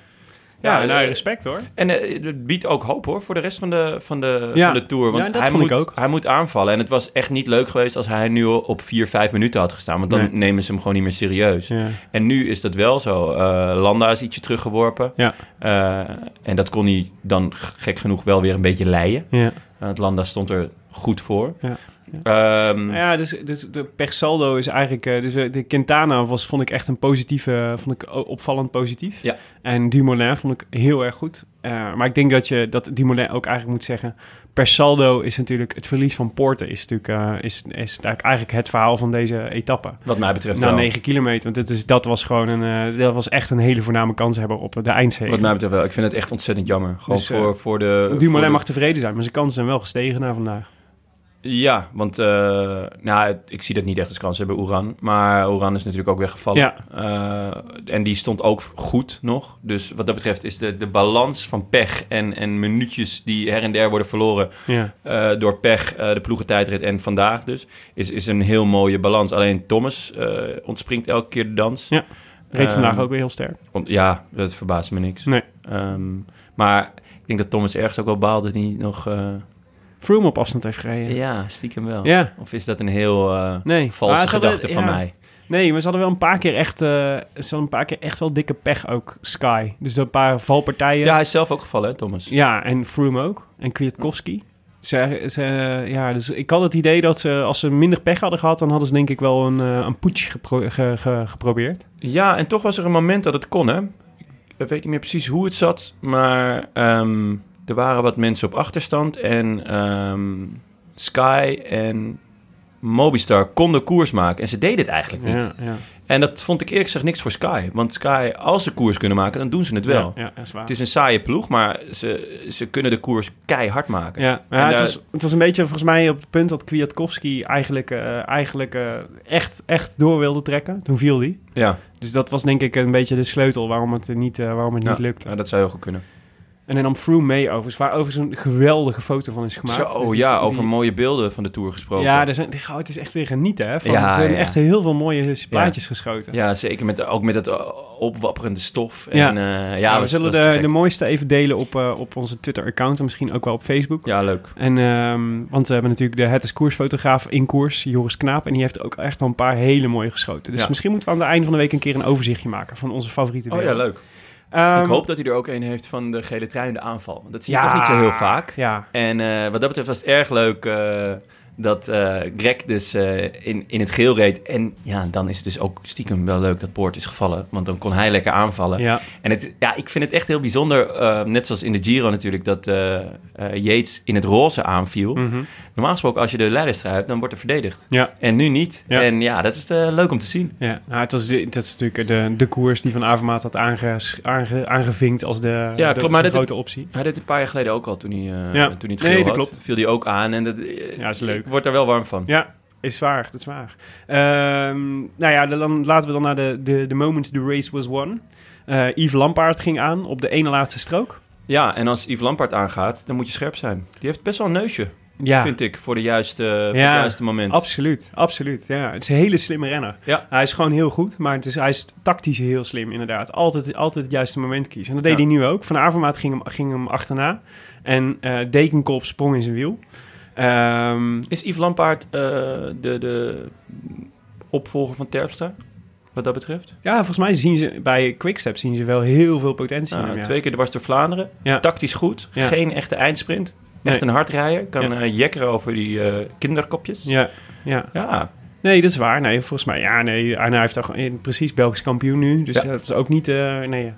Speaker 1: Ja, nou,
Speaker 5: eh,
Speaker 1: respect hoor.
Speaker 5: En eh, het biedt ook hoop hoor voor de rest van de, van de,
Speaker 1: Ja.
Speaker 5: van de tour. Want
Speaker 1: Ja, dat
Speaker 5: hij,
Speaker 1: vond ik
Speaker 5: moet,
Speaker 1: ook.
Speaker 5: hij moet aanvallen. En het was echt niet leuk geweest als hij nu op 4, 5 minuten had gestaan. Want dan
Speaker 1: Nee.
Speaker 5: nemen ze hem gewoon niet meer serieus.
Speaker 1: Ja.
Speaker 5: En nu is dat wel zo. Eh, Landa is ietsje teruggeworpen.
Speaker 1: Ja.
Speaker 5: Eh, en dat kon hij dan g- gek genoeg wel weer een beetje leien.
Speaker 1: Ja.
Speaker 5: Eh, het Landa stond er goed voor.
Speaker 1: Ja,
Speaker 5: Ehm,
Speaker 1: Nou ja, dus, dus de per saldo is eigenlijk... eh, Dus eh, de Quintana was, vond ik echt een positieve... Vond ik o- opvallend positief.
Speaker 5: Ja.
Speaker 1: En Dumoulin vond ik heel erg goed. Eh, maar ik denk dat je dat Dumoulin ook eigenlijk moet zeggen... Per saldo is natuurlijk... Het verlies van Poorten is natuurlijk... eh, is, is eigenlijk- eigenlijk het verhaal van deze etappe.
Speaker 5: Wat mij betreft
Speaker 1: Na
Speaker 5: wel.
Speaker 1: 9 kilometer. Want dit is, dat was gewoon een... eh, dat was echt een hele voorname kanshebber op de eindzege.
Speaker 5: Wat mij betreft wel. Ik vind het echt ontzettend jammer. Gewoon
Speaker 1: Dus, eh,
Speaker 5: voor, voor de... voor
Speaker 1: Dumoulin
Speaker 5: de-
Speaker 1: mag tevreden zijn, maar zijn kansen zijn wel gestegen na vandaag.
Speaker 5: Ja, want eh, nou, het- ik zie dat niet echt als kans hebben, Oeran. Maar Oeran is natuurlijk ook weggevallen.
Speaker 1: Ja.
Speaker 5: Eh, en die stond ook goed nog. Dus wat dat betreft is de, de balans van pech en, en minuutjes die her en der worden verloren
Speaker 1: Ja,
Speaker 5: eh, door pech, eh de ploegentijdrit en vandaag dus, is, is een heel mooie balans. Alleen Thomas eh, ontspringt elke keer de dans.
Speaker 1: Ja. reed
Speaker 5: Ehm,
Speaker 1: vandaag ook weer heel sterk.
Speaker 5: Want, ja, dat verbaast me niks.
Speaker 1: Nee.
Speaker 5: Ehm, maar ik denk dat Thomas ergens ook wel baalt dat hij niet nog... eh,
Speaker 1: Froome op afstand heeft gereden.
Speaker 5: ja, stiekem wel.
Speaker 1: Ja.
Speaker 5: Of is dat een heel eh,
Speaker 1: Nee. Maar
Speaker 5: valse
Speaker 1: ze hadden-
Speaker 5: gedachte van
Speaker 1: ja.
Speaker 5: mij?
Speaker 1: Nee, maar ze hadden wel een paar keer echt, eh, ze hadden een paar keer echt wel dikke pech ook, Sky. Dus een paar valpartijen.
Speaker 5: Ja, hij is zelf ook gevallen, hè, Thomas?
Speaker 1: Ja, en Froome ook. En Kwiatkowski. Ze, ze, ja, dus ik had het idee dat ze, als ze minder pech hadden gehad, dan hadden ze denk ik wel een, eh, een putsch gepro- ge- ge- geprobeerd.
Speaker 5: Ja, en toch was er een moment dat het kon, hè? Ik weet niet meer precies hoe het zat, maar ehm, er waren wat mensen op achterstand. En ehm, Sky en Mobistar konden koers maken. En ze deden het eigenlijk niet.
Speaker 1: Ja, ja.
Speaker 5: En dat vond ik eerlijk gezegd niks voor Sky. Want Sky, als ze koers kunnen maken, dan doen ze het wel.
Speaker 1: Ja, ja, dat is waar.
Speaker 5: Het is een saaie ploeg, maar ze, ze kunnen de koers keihard maken.
Speaker 1: Ja, maar
Speaker 5: En
Speaker 1: ja, het,
Speaker 5: daar-
Speaker 1: was, het was een beetje volgens mij op het punt dat Kwiatkowski eigenlijk, eh, eigenlijk eh, echt, echt door wilde trekken. Toen viel hij.
Speaker 5: ja,
Speaker 1: Dus dat was denk ik een beetje de sleutel waarom het eh, niet, eh, waarom het
Speaker 5: ja,
Speaker 1: niet lukte.
Speaker 5: ja, dat zou heel goed kunnen.
Speaker 1: En hij nam Froome mee overigens, waar overigens een geweldige foto van is gemaakt.
Speaker 5: Zo,
Speaker 1: Dus die-
Speaker 5: ja,
Speaker 1: die-
Speaker 5: over mooie beelden van de Tour gesproken.
Speaker 1: Ja, er zijn, oh, het is echt weer genieten, hè? Van,
Speaker 5: Ja,
Speaker 1: er zijn
Speaker 5: ja.
Speaker 1: echt heel veel mooie plaatjes geschoten.
Speaker 5: Ja, zeker. Met, ook met het eh, opwapperende stof. En,
Speaker 1: Ja.
Speaker 5: ja. ja,
Speaker 1: Ja, Nou, we
Speaker 5: was-
Speaker 1: zullen
Speaker 5: was te
Speaker 1: de,
Speaker 5: gek.
Speaker 1: de mooiste even delen op, eh, op onze Twitter-account en misschien ook wel op Facebook.
Speaker 5: Ja, leuk.
Speaker 1: En, ehm, want we hebben natuurlijk de Het is Koersfotograaf in koers, Joris Knaap. En die heeft ook echt al een paar hele mooie geschoten. Dus
Speaker 5: Ja.
Speaker 1: misschien moeten we aan het einde van de week een keer een overzichtje maken van onze favoriete
Speaker 5: Oh ja, leuk.
Speaker 1: leuk.
Speaker 5: ik hoop dat hij er ook een heeft van de gele trui in de aanval. Want dat zie je
Speaker 1: Ehm, Ja.
Speaker 5: toch niet zo heel vaak.
Speaker 1: Ja,
Speaker 5: En eh, wat dat betreft was het erg leuk eh, dat eh, Greg dus eh, in, in het geel reed. En ja, dan is het dus ook stiekem wel leuk dat Poort is gevallen. Want dan kon hij lekker aanvallen.
Speaker 1: ja,
Speaker 5: En het, ja, ik vind het echt heel bijzonder, eh, net zoals in de Giro natuurlijk, dat eh eh, Yates in het roze aanviel.
Speaker 1: mhm.
Speaker 5: Normaal gesproken, als je de leiderstrui hebt, dan wordt er verdedigd.
Speaker 1: ja.
Speaker 5: En nu niet.
Speaker 1: Ja.
Speaker 5: En ja, dat is eh, leuk om te zien.
Speaker 1: ja. Nou, het was, de- dat is natuurlijk de, de koers die Van Avermaat had aanges, aange, aangevinkt als de, de,
Speaker 5: klopt,
Speaker 1: als
Speaker 5: maar
Speaker 1: een
Speaker 5: dat-
Speaker 1: grote optie.
Speaker 5: Hij deed het een paar jaar geleden ook al toen hij, eh,
Speaker 1: Ja.
Speaker 5: toen hij het
Speaker 1: Nee,
Speaker 5: geel
Speaker 1: dat
Speaker 5: had.
Speaker 1: klopt.
Speaker 5: Viel hij ook aan en dat, eh,
Speaker 1: Ja, is leuk.
Speaker 5: Ik word daar wel warm van.
Speaker 1: Ja, is waar, dat is waar. Ehm, nou ja, dan, laten we dan naar de, de, de moment the race was won. Eh Yves Lampaard ging aan op de ene laatste strook.
Speaker 5: Ja, en als Yves Lampard aangaat, dan moet je scherp zijn. Die heeft best wel een neusje,
Speaker 1: Ja,
Speaker 5: vind ik, voor, de juiste, voor
Speaker 1: Ja.
Speaker 5: het juiste moment.
Speaker 1: Absoluut, absoluut. Ja, het is een hele slimme renner.
Speaker 5: Ja.
Speaker 1: Hij is gewoon heel goed, maar het is, hij is tactisch heel slim inderdaad. Altijd, altijd het juiste moment kiezen. En dat deed
Speaker 5: Ja.
Speaker 1: hij nu ook. Van Avermaat ging hem, ging hem achterna. En eh, Dekenkop sprong in zijn wiel. Ehm,
Speaker 5: Is Yves Lampaard eh, de, de opvolger van Terpstra, wat dat betreft?
Speaker 1: ja, volgens mij zien ze bij Quickstep zien ze wel heel veel potentie in
Speaker 5: Nou,
Speaker 1: hem, ja.
Speaker 5: Twee keer dwars door Vlaanderen.
Speaker 1: Ja.
Speaker 5: Tactisch goed.
Speaker 1: Ja.
Speaker 5: Geen echte eindsprint. Echt
Speaker 1: Nee.
Speaker 5: een hardrijder. Kan
Speaker 1: Ja.
Speaker 5: eh, jekkeren over die eh, kinderkopjes.
Speaker 1: Ja, ja.
Speaker 5: Ja,
Speaker 1: Nee, dat is waar. Nee, volgens mij. Ja, nee. Arna heeft daar gewoon- eh, precies Belgisch kampioen nu. Dus
Speaker 5: Ja.
Speaker 1: dat is ook niet. eh, nee,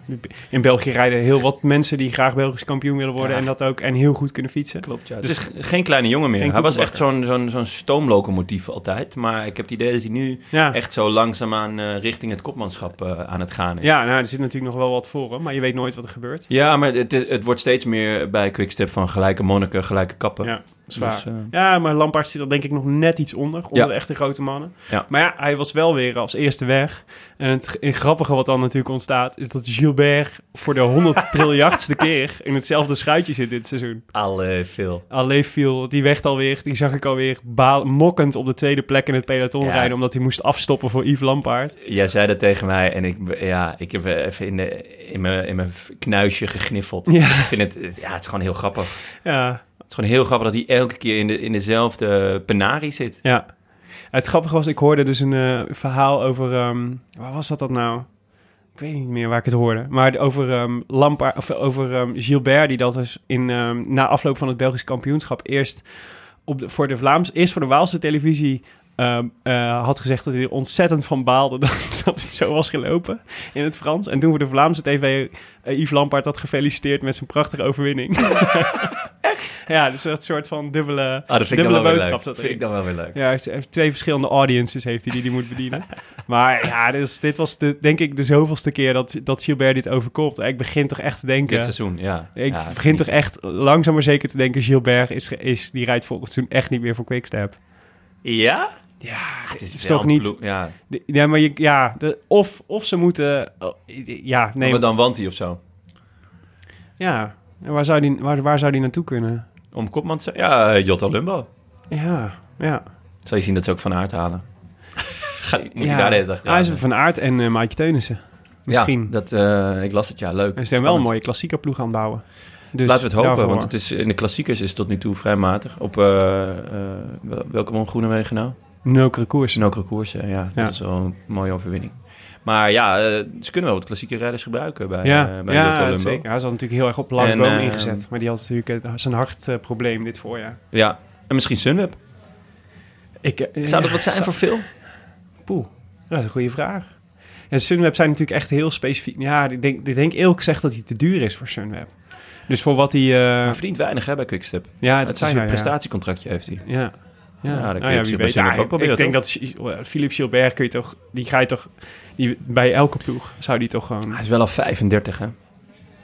Speaker 1: in België rijden heel wat mensen die graag Belgisch kampioen willen worden.
Speaker 5: Ja.
Speaker 1: En dat ook. En heel goed kunnen fietsen.
Speaker 5: Klopt, ja.
Speaker 1: Dus-
Speaker 5: Dus het is geen kleine jongen meer.
Speaker 1: Geen
Speaker 5: Hij was echt zo'n
Speaker 1: koekenbakker.
Speaker 5: zo'n zo'n stoomlocomotief altijd. Maar ik heb het idee dat hij nu
Speaker 1: Ja.
Speaker 5: echt zo langzaamaan eh richting het kopmanschap eh, aan het gaan is.
Speaker 1: Ja, nou, er zit natuurlijk nog wel wat voor hem, maar je weet nooit wat er gebeurt.
Speaker 5: Ja, maar het, het wordt steeds meer bij Quickstep van gelijke monniken, gelijke kappen.
Speaker 1: Ja, zwaar.
Speaker 5: Dus, eh,
Speaker 1: ja, maar Lampaard zit er denk ik nog net iets onder, onder
Speaker 5: Ja.
Speaker 1: de echte grote mannen.
Speaker 5: Ja.
Speaker 1: Maar ja, hij was wel weer als eerste weg. En het, g- het grappige wat dan natuurlijk ontstaat, is dat Gilbert voor de 100 triljardste keer in hetzelfde schuitje zit dit seizoen.
Speaker 5: Alle veel.
Speaker 1: Alleen viel die weg alweer, die zag ik alweer baal, mokkend op de tweede plek in het peloton
Speaker 5: Ja.
Speaker 1: rijden, omdat hij moest afstoppen voor Yves Lampaard.
Speaker 5: Jij zei dat tegen mij en ik, ja, ik heb eh, even in, de, in, mijn, in mijn knuisje gegniffeld.
Speaker 1: Ja.
Speaker 5: Ik vind het, ja, het is gewoon heel grappig.
Speaker 1: Ja,
Speaker 5: Het is gewoon heel grappig dat hij elke keer in, de, in dezelfde penarie zit.
Speaker 1: Ja. Het grappige was, ik hoorde dus een eh, verhaal over... ehm, waar was dat dat nou? Ik weet niet meer waar ik het hoorde. Maar over, ehm Lampaard, of over ehm, Gilbert, die dat dus in, ehm, na afloop van het Belgisch kampioenschap... eerst, op de, voor, de Vlaams, eerst voor de Waalse televisie ehm, eh, had gezegd... dat hij er ontzettend van baalde dat, dat het zo was gelopen in het Frans. En toen voor de Vlaamse tv eh, Yves Lampaard had gefeliciteerd met zijn prachtige overwinning. Ja, dus dat soort van dubbele, dubbele boodschap. zat erin.
Speaker 5: wel weer leuk.
Speaker 1: Ja, hij heeft- hij heeft twee verschillende audiences heeft hij die hij moet bedienen. maar ja, dus, dit was de, denk ik de zoveelste keer dat, dat Gilbert dit overkomt. Ik begin toch echt te denken...
Speaker 5: Dit seizoen, ja.
Speaker 1: Ik
Speaker 5: Ja,
Speaker 1: begin toch echt langzaam maar zeker te denken... Gilbert is, is, die rijdt volgend seizoen echt niet meer voor Quickstep.
Speaker 5: Ja? Ah,
Speaker 1: Ja, het is,
Speaker 5: wel
Speaker 1: toch niet...
Speaker 5: ploeg- Ja.
Speaker 1: de- Ja, maar je, ja, de, of, of ze moeten... oh, ja, nee.
Speaker 5: Maar dan want hij of zo.
Speaker 1: Ja, En waar zou, die, waar, waar zou die naartoe kunnen?
Speaker 5: Om kopman te zijn? Ja, eh, Jotto Lumbo.
Speaker 1: Ja, ja.
Speaker 5: Zal je zien dat ze ook van aard halen. Gaat, moet
Speaker 1: ja.
Speaker 5: je daar de hele dag
Speaker 1: Ah, is Van Aert en eh Maaike Teunissen. Misschien.
Speaker 5: Ja, dat, eh, ik las het, ja, leuk.
Speaker 1: En ze zijn wel een
Speaker 5: Spannend.
Speaker 1: mooie klassieke ploeg aan het bouwen. Dus
Speaker 5: Laten we het hopen,
Speaker 1: daarvoor.
Speaker 5: want het is, in de klassiekers is het tot nu toe vrij matig. Op eh, eh, wel- welke won Groenewegen nou?
Speaker 1: Nokere koers.
Speaker 5: In ook koersen, ja. Dat
Speaker 1: Ja.
Speaker 5: is wel een mooie overwinning. Maar ja, eh, ze kunnen wel wat klassieke rijders gebruiken bij,
Speaker 1: ja,
Speaker 5: eh, bij
Speaker 1: ja,
Speaker 5: Jotto
Speaker 1: dat
Speaker 5: Lumbo.
Speaker 1: zeker. Hij zat natuurlijk heel erg op Lars
Speaker 5: En,
Speaker 1: Boom
Speaker 5: eh,
Speaker 1: ingezet. Maar die had natuurlijk eh, zijn hartprobleem dit voorjaar.
Speaker 5: Ja, en misschien Sunweb.
Speaker 1: Ik, eh,
Speaker 5: Zou dat
Speaker 1: ja,
Speaker 5: wat zijn
Speaker 1: zou-
Speaker 5: voor veel?
Speaker 1: Poeh, dat is een goede vraag. En Sunweb zijn natuurlijk echt heel specifiek. Ja, ik denk, ik denk eerlijk gezegd dat hij te duur is voor Sunweb. Dus voor wat hij... eh,
Speaker 5: Hij verdient weinig hè, bij Quickstep.
Speaker 1: ja, dat
Speaker 5: Het is
Speaker 1: zijn
Speaker 5: een
Speaker 1: wij, ja.
Speaker 5: prestatiecontractje heeft hij.
Speaker 1: Ja. Ja,
Speaker 5: Ja, dan kun je
Speaker 1: nou ja, wie
Speaker 5: op zich
Speaker 1: weet.
Speaker 5: bij Sunweb
Speaker 1: Ja,
Speaker 5: ook proberen,
Speaker 1: ik denk dat G- Philippe Gilbert kun je toch... Die ga je toch... Die, bij elke ploeg zou die toch gewoon...
Speaker 5: Hij is wel al 35, hè?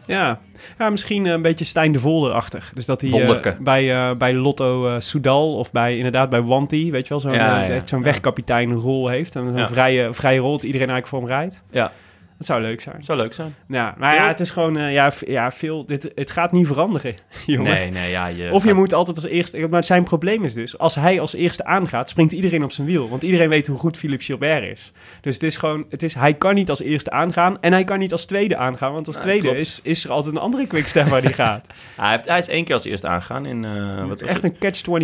Speaker 1: Ja. ja, misschien een beetje Stijn de Volder-achtig. Dus dat hij eh,
Speaker 5: Wolderke.
Speaker 1: bij, eh, bij Lotto eh, Soudal of bij, inderdaad bij Wanti, weet je wel, zo'n
Speaker 5: Ja,
Speaker 1: eh,
Speaker 5: ja.
Speaker 1: zo'n wegkapiteinrol heeft. En zo'n
Speaker 5: Ja.
Speaker 1: vrije, vrije rol dat iedereen eigenlijk voor hem rijdt.
Speaker 5: Ja.
Speaker 1: Dat zou leuk zijn.
Speaker 5: Zou leuk zijn.
Speaker 1: Ja, maar ja,
Speaker 5: Veel?
Speaker 1: het is gewoon, eh, ja, v- ja, veel, dit, het gaat niet veranderen, jongen.
Speaker 5: Nee, nee, ja. Je
Speaker 1: Of je
Speaker 5: gaat-
Speaker 1: moet altijd als eerste... Maar zijn probleem is dus, als hij als eerste aangaat, springt iedereen op zijn wiel. Want iedereen weet hoe goed Philippe Gilbert is. Dus het is gewoon, het is, hij kan niet als eerste aangaan en hij kan niet als tweede aangaan. Want als
Speaker 5: Ja,
Speaker 1: tweede
Speaker 5: klopt.
Speaker 1: is, is er altijd een andere quickstep waar die gaat.
Speaker 5: Hij, heeft, hij is één keer als eerste aangegaan in... eh,
Speaker 1: Het
Speaker 5: wat
Speaker 1: is
Speaker 5: was
Speaker 1: echt
Speaker 5: het?
Speaker 1: een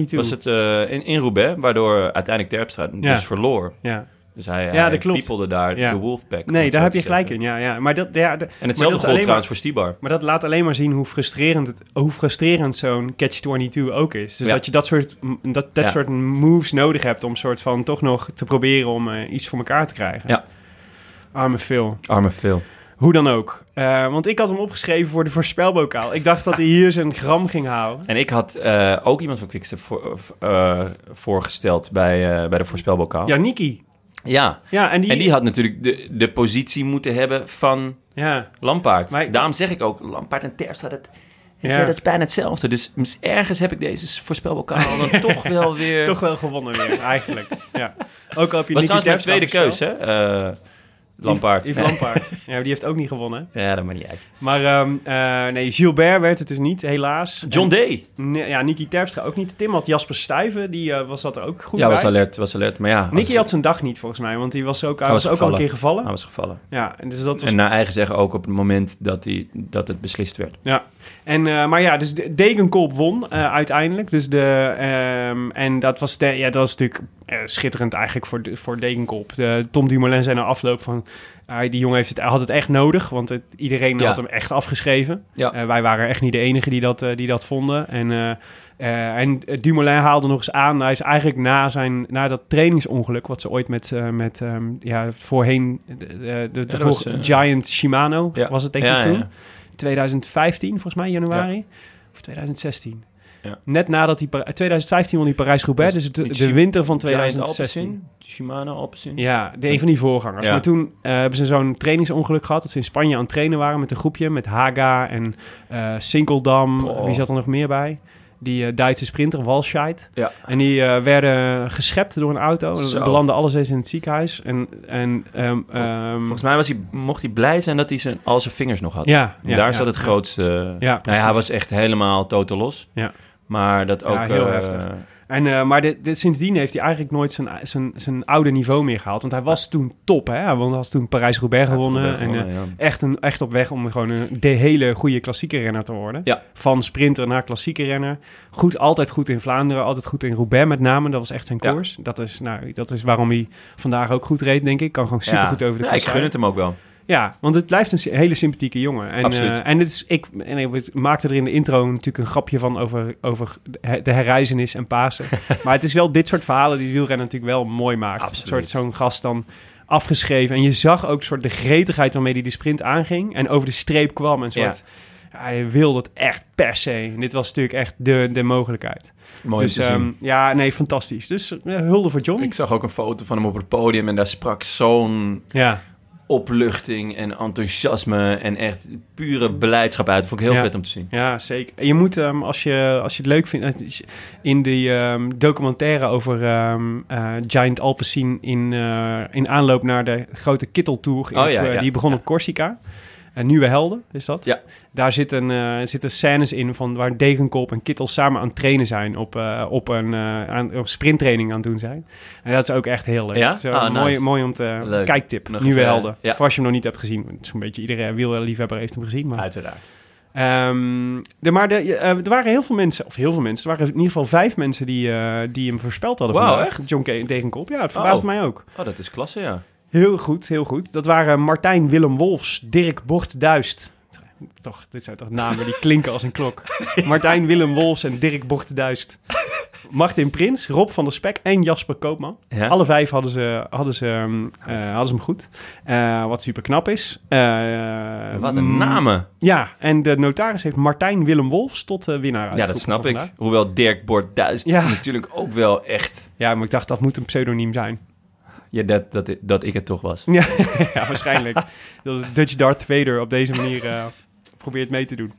Speaker 1: catch-22.
Speaker 5: Was het eh, in, in Roubaix, waardoor uiteindelijk Terpstra
Speaker 1: Ja.
Speaker 5: dus verloor.
Speaker 1: Ja.
Speaker 5: Dus hij,
Speaker 1: Ja,
Speaker 5: hij
Speaker 1: dat klopt.
Speaker 5: piepelde daar
Speaker 1: Ja.
Speaker 5: de Wolfpack. om
Speaker 1: Nee,
Speaker 5: het
Speaker 1: daar
Speaker 5: zo
Speaker 1: heb
Speaker 5: te
Speaker 1: je gelijk
Speaker 5: zeggen.
Speaker 1: in. Ja, ja. Maar, dat, ja, de-
Speaker 5: En
Speaker 1: maar dat
Speaker 5: hetzelfde
Speaker 1: is
Speaker 5: gold
Speaker 1: alleen maar-
Speaker 5: trouwens voor Stibar.
Speaker 1: Maar dat laat alleen maar zien hoe frustrerend, het, hoe frustrerend zo'n catch-22 ook is. Dus
Speaker 5: Ja.
Speaker 1: dat je dat soort, m- dat, dat
Speaker 5: Ja.
Speaker 1: soort moves nodig hebt om soort van toch nog te proberen om eh, iets voor elkaar te krijgen.
Speaker 5: Ja.
Speaker 1: Arme Phil.
Speaker 5: Arme Phil.
Speaker 1: Hoe dan ook. Eh, want ik had hem opgeschreven voor de voorspelbokaal. Ik dacht dat hij hier zijn gram ging houden.
Speaker 5: En ik had eh, ook iemand van Quickstep voor, eh, voorgesteld bij, eh, bij de voorspelbokaal.
Speaker 1: Ja, Niki.
Speaker 5: Ja.
Speaker 1: Ja, en die...
Speaker 5: En die had natuurlijk de, de positie moeten hebben van
Speaker 1: ja.
Speaker 5: Lampaard.
Speaker 1: Maar ik-
Speaker 5: Daarom zeg ik ook, Lampaard en Terpstra, dat, weet
Speaker 1: Ja.
Speaker 5: je, dat is bijna hetzelfde. Dus mis- ergens heb ik deze voorspelbokaal dan toch wel weer...
Speaker 1: Toch wel gewonnen weer, eigenlijk. Ja. Ook al heb je
Speaker 5: was
Speaker 1: Niki
Speaker 5: trouwens mijn
Speaker 1: Terpstra
Speaker 5: tweede
Speaker 1: voorspeld.
Speaker 5: keus, hè? Eh, Lampaard.
Speaker 1: Yves Lampaard. ja, maar die heeft ook niet gewonnen.
Speaker 5: ja, dat maakt niet uit.
Speaker 1: Maar ehm, eh, nee, Gilbert werd het dus niet, helaas.
Speaker 5: John Day.
Speaker 1: En, nee, ja, Niki Terpstra ook niet. Tim had Jasper Stuyven, die eh, was dat er ook goed
Speaker 5: Ja,
Speaker 1: bij.
Speaker 5: was alert, was alert. Maar ja,
Speaker 1: Nicky
Speaker 5: was-
Speaker 1: had zijn dag niet volgens mij, want die was ook, hij
Speaker 5: Hij
Speaker 1: was
Speaker 5: was
Speaker 1: ook al een keer
Speaker 5: gevallen.
Speaker 1: gevallen.
Speaker 5: hij was gevallen.
Speaker 1: Ja, en dus dat was...
Speaker 5: En naar eigen zeggen ook op het moment dat, hij, dat het beslist werd.
Speaker 1: ja. En, eh, maar ja, dus de- Degenkolb won eh, uiteindelijk. Dus de, ehm, en dat was, de, ja, dat was natuurlijk eh, schitterend eigenlijk voor, de- voor Degenkop. De, Tom Dumoulin zei na afloop van... ah, die jongen heeft het, hij had het echt nodig, want het- iedereen
Speaker 5: Ja.
Speaker 1: had hem echt afgeschreven.
Speaker 5: Ja.
Speaker 1: Eh, wij waren echt niet de enige die dat, eh, die dat vonden. En, eh, eh, en Dumoulin haalde nog eens aan... Hij is eigenlijk na, zijn, na dat trainingsongeluk... wat ze ooit met, eh, met ehm, ja, voorheen... De, de, de
Speaker 5: dat
Speaker 1: vorige-
Speaker 5: was, eh,
Speaker 1: Giant Shimano
Speaker 5: Ja.
Speaker 1: was het denk ik
Speaker 5: Ja, ja,
Speaker 1: toen.
Speaker 5: ja.
Speaker 1: 2015 volgens mij, januari. Of 2016.
Speaker 5: Ja.
Speaker 1: Net nadat die... Par- 2015 won die Parijs-Roubaix,
Speaker 5: Dus
Speaker 1: dus, de,
Speaker 5: met
Speaker 1: de
Speaker 5: Shim-
Speaker 1: winter van
Speaker 5: Giant
Speaker 1: 2016.
Speaker 5: Alpecin, Shimano Alpecin.
Speaker 1: Ja, de, een van die voorgangers.
Speaker 5: Ja.
Speaker 1: Maar toen eh, hebben ze zo'n trainingsongeluk gehad... dat ze in Spanje aan het trainen waren met een groepje... met Haga en eh Sinkeldam.
Speaker 5: Boah.
Speaker 1: Wie zat er nog meer bij? Die eh, Duitse sprinter, Walscheid.
Speaker 5: Ja.
Speaker 1: En die eh, werden geschept door een auto. En
Speaker 5: Zo.
Speaker 1: belanden alles eens in het ziekenhuis. En, en ehm, ehm,
Speaker 5: Volgens mij was hij, mocht hij blij zijn dat hij zijn, al zijn vingers nog had.
Speaker 1: ja, ja,
Speaker 5: Daar
Speaker 1: ja,
Speaker 5: zat het
Speaker 1: ja.
Speaker 5: grootste... nou ja,
Speaker 1: precies.
Speaker 5: hij was echt helemaal totaal los.
Speaker 1: Ja.
Speaker 5: Maar dat ook...
Speaker 1: heel
Speaker 5: eh,
Speaker 1: heftig. En, eh, maar dit, dit- sindsdien heeft hij eigenlijk nooit zijn, zijn, zijn oude niveau meer gehaald. Want hij was toen top, hè? Hij won- had toen Parijs-Roubaix gewonnen.
Speaker 5: Roubaix
Speaker 1: en, eh,
Speaker 5: gewonnen, ja.
Speaker 1: echt, een, echt op weg om gewoon een, de hele goede klassieke renner te worden.
Speaker 5: Ja.
Speaker 1: Van sprinter naar klassieke renner. Goed, altijd goed in Vlaanderen, altijd goed in Roubaix met name. Dat was echt zijn
Speaker 5: Ja.
Speaker 1: koers. Dat, is, nou, dat is waarom hij vandaag ook goed reed, denk ik. Kan gewoon supergoed
Speaker 5: Ja.
Speaker 1: over de
Speaker 5: Ja,
Speaker 1: kast
Speaker 5: Ik gun
Speaker 1: rijden.
Speaker 5: het hem ook wel.
Speaker 1: Ja, want het blijft een sy- hele sympathieke jongen. En,
Speaker 5: Absoluut.
Speaker 1: eh, en, het is, ik, en ik maakte er in de intro natuurlijk een grapje van over, over de herreizenis en Pasen. maar het is wel dit soort verhalen die de wielrenner natuurlijk wel mooi maakt.
Speaker 5: Absoluut.
Speaker 1: Een soort Zo'n gast dan afgeschreven. En je zag ook soort de gretigheid waarmee hij de sprint aanging. En over de streep kwam en soort... Ja. Hij wilde het echt per se. En dit was natuurlijk echt de, de mogelijkheid.
Speaker 5: Mooi
Speaker 1: dus
Speaker 5: om te zien.
Speaker 1: ehm, ja, nee, fantastisch. Dus eh, hulde voor John.
Speaker 5: Ik zag ook een foto van hem op het podium en daar sprak zo'n
Speaker 1: Ja.
Speaker 5: opluchting en enthousiasme en echt pure blijdschap uit. Vond ik heel
Speaker 1: Ja.
Speaker 5: vet om te zien.
Speaker 1: Ja, zeker. En Je moet, ehm, als, je, als je het leuk vindt, het is in die ehm, documentaire over ehm, eh, Giant Alpecin in, eh, in aanloop naar de grote Kitteltour, in-
Speaker 5: Oh, ja,
Speaker 1: eh,
Speaker 5: ja,
Speaker 1: die begon
Speaker 5: ja.
Speaker 1: op Corsica. En Nieuwe Helden is dat.
Speaker 5: Ja.
Speaker 1: Daar zitten, eh, zitten scènes in van waar Degenkop en Kittel samen aan het trainen zijn. Op, eh, op een eh, aan, op sprinttraining aan het doen zijn. En dat is ook echt heel leuk.
Speaker 5: Ja?
Speaker 1: Dat is, eh,
Speaker 5: Ah,
Speaker 1: mooi,
Speaker 5: nice.
Speaker 1: mooi om te... eh,
Speaker 5: Leuk.
Speaker 1: Kijktip,
Speaker 5: Nog
Speaker 1: Nieuwe
Speaker 5: even,
Speaker 1: Helden.
Speaker 5: ja.
Speaker 1: Of als je hem nog niet hebt gezien. want Zo'n beetje iedere wielerliefhebber heeft hem gezien. Maar...
Speaker 5: Uiteraard.
Speaker 1: Ehm, de, maar de, eh, er waren heel veel mensen, of heel veel mensen, er waren in ieder geval vijf mensen die, eh, die hem voorspeld hadden.
Speaker 5: Wauw,
Speaker 1: vandaag. John Ke- Degenkop. Ja, het verbaasde
Speaker 5: Oh.
Speaker 1: mij ook.
Speaker 5: Oh, dat is klasse, ja.
Speaker 1: Heel goed, heel goed. Dat waren Martijn Willem Wolfs, Dirk Bort Duist. Toch, dit zijn toch namen die klinken als een klok. Martijn Willem Wolfs en Dirk Bort Duist. Martin Prins, Rob van der Spek en Jasper Koopman.
Speaker 5: Ja.
Speaker 1: Alle vijf hadden ze, hadden ze, ehm, eh, hadden ze hem goed. Eh, wat super knap is. Eh,
Speaker 5: Wat een namen.
Speaker 1: ja, en de notaris heeft Martijn Willem Wolfs tot eh, winnaar
Speaker 5: Ja, dat
Speaker 1: uitgeroepen
Speaker 5: snap
Speaker 1: voor
Speaker 5: ik.
Speaker 1: vandaag.
Speaker 5: Hoewel Dirk Bord Duist
Speaker 1: Ja.
Speaker 5: natuurlijk ook wel echt...
Speaker 1: Ja, maar ik dacht, dat moet een pseudoniem zijn.
Speaker 5: Ja, dat, dat, dat ik het toch was.
Speaker 1: Ja, ja waarschijnlijk. dat het Dutch Darth Vader op deze manier eh, probeert mee te doen.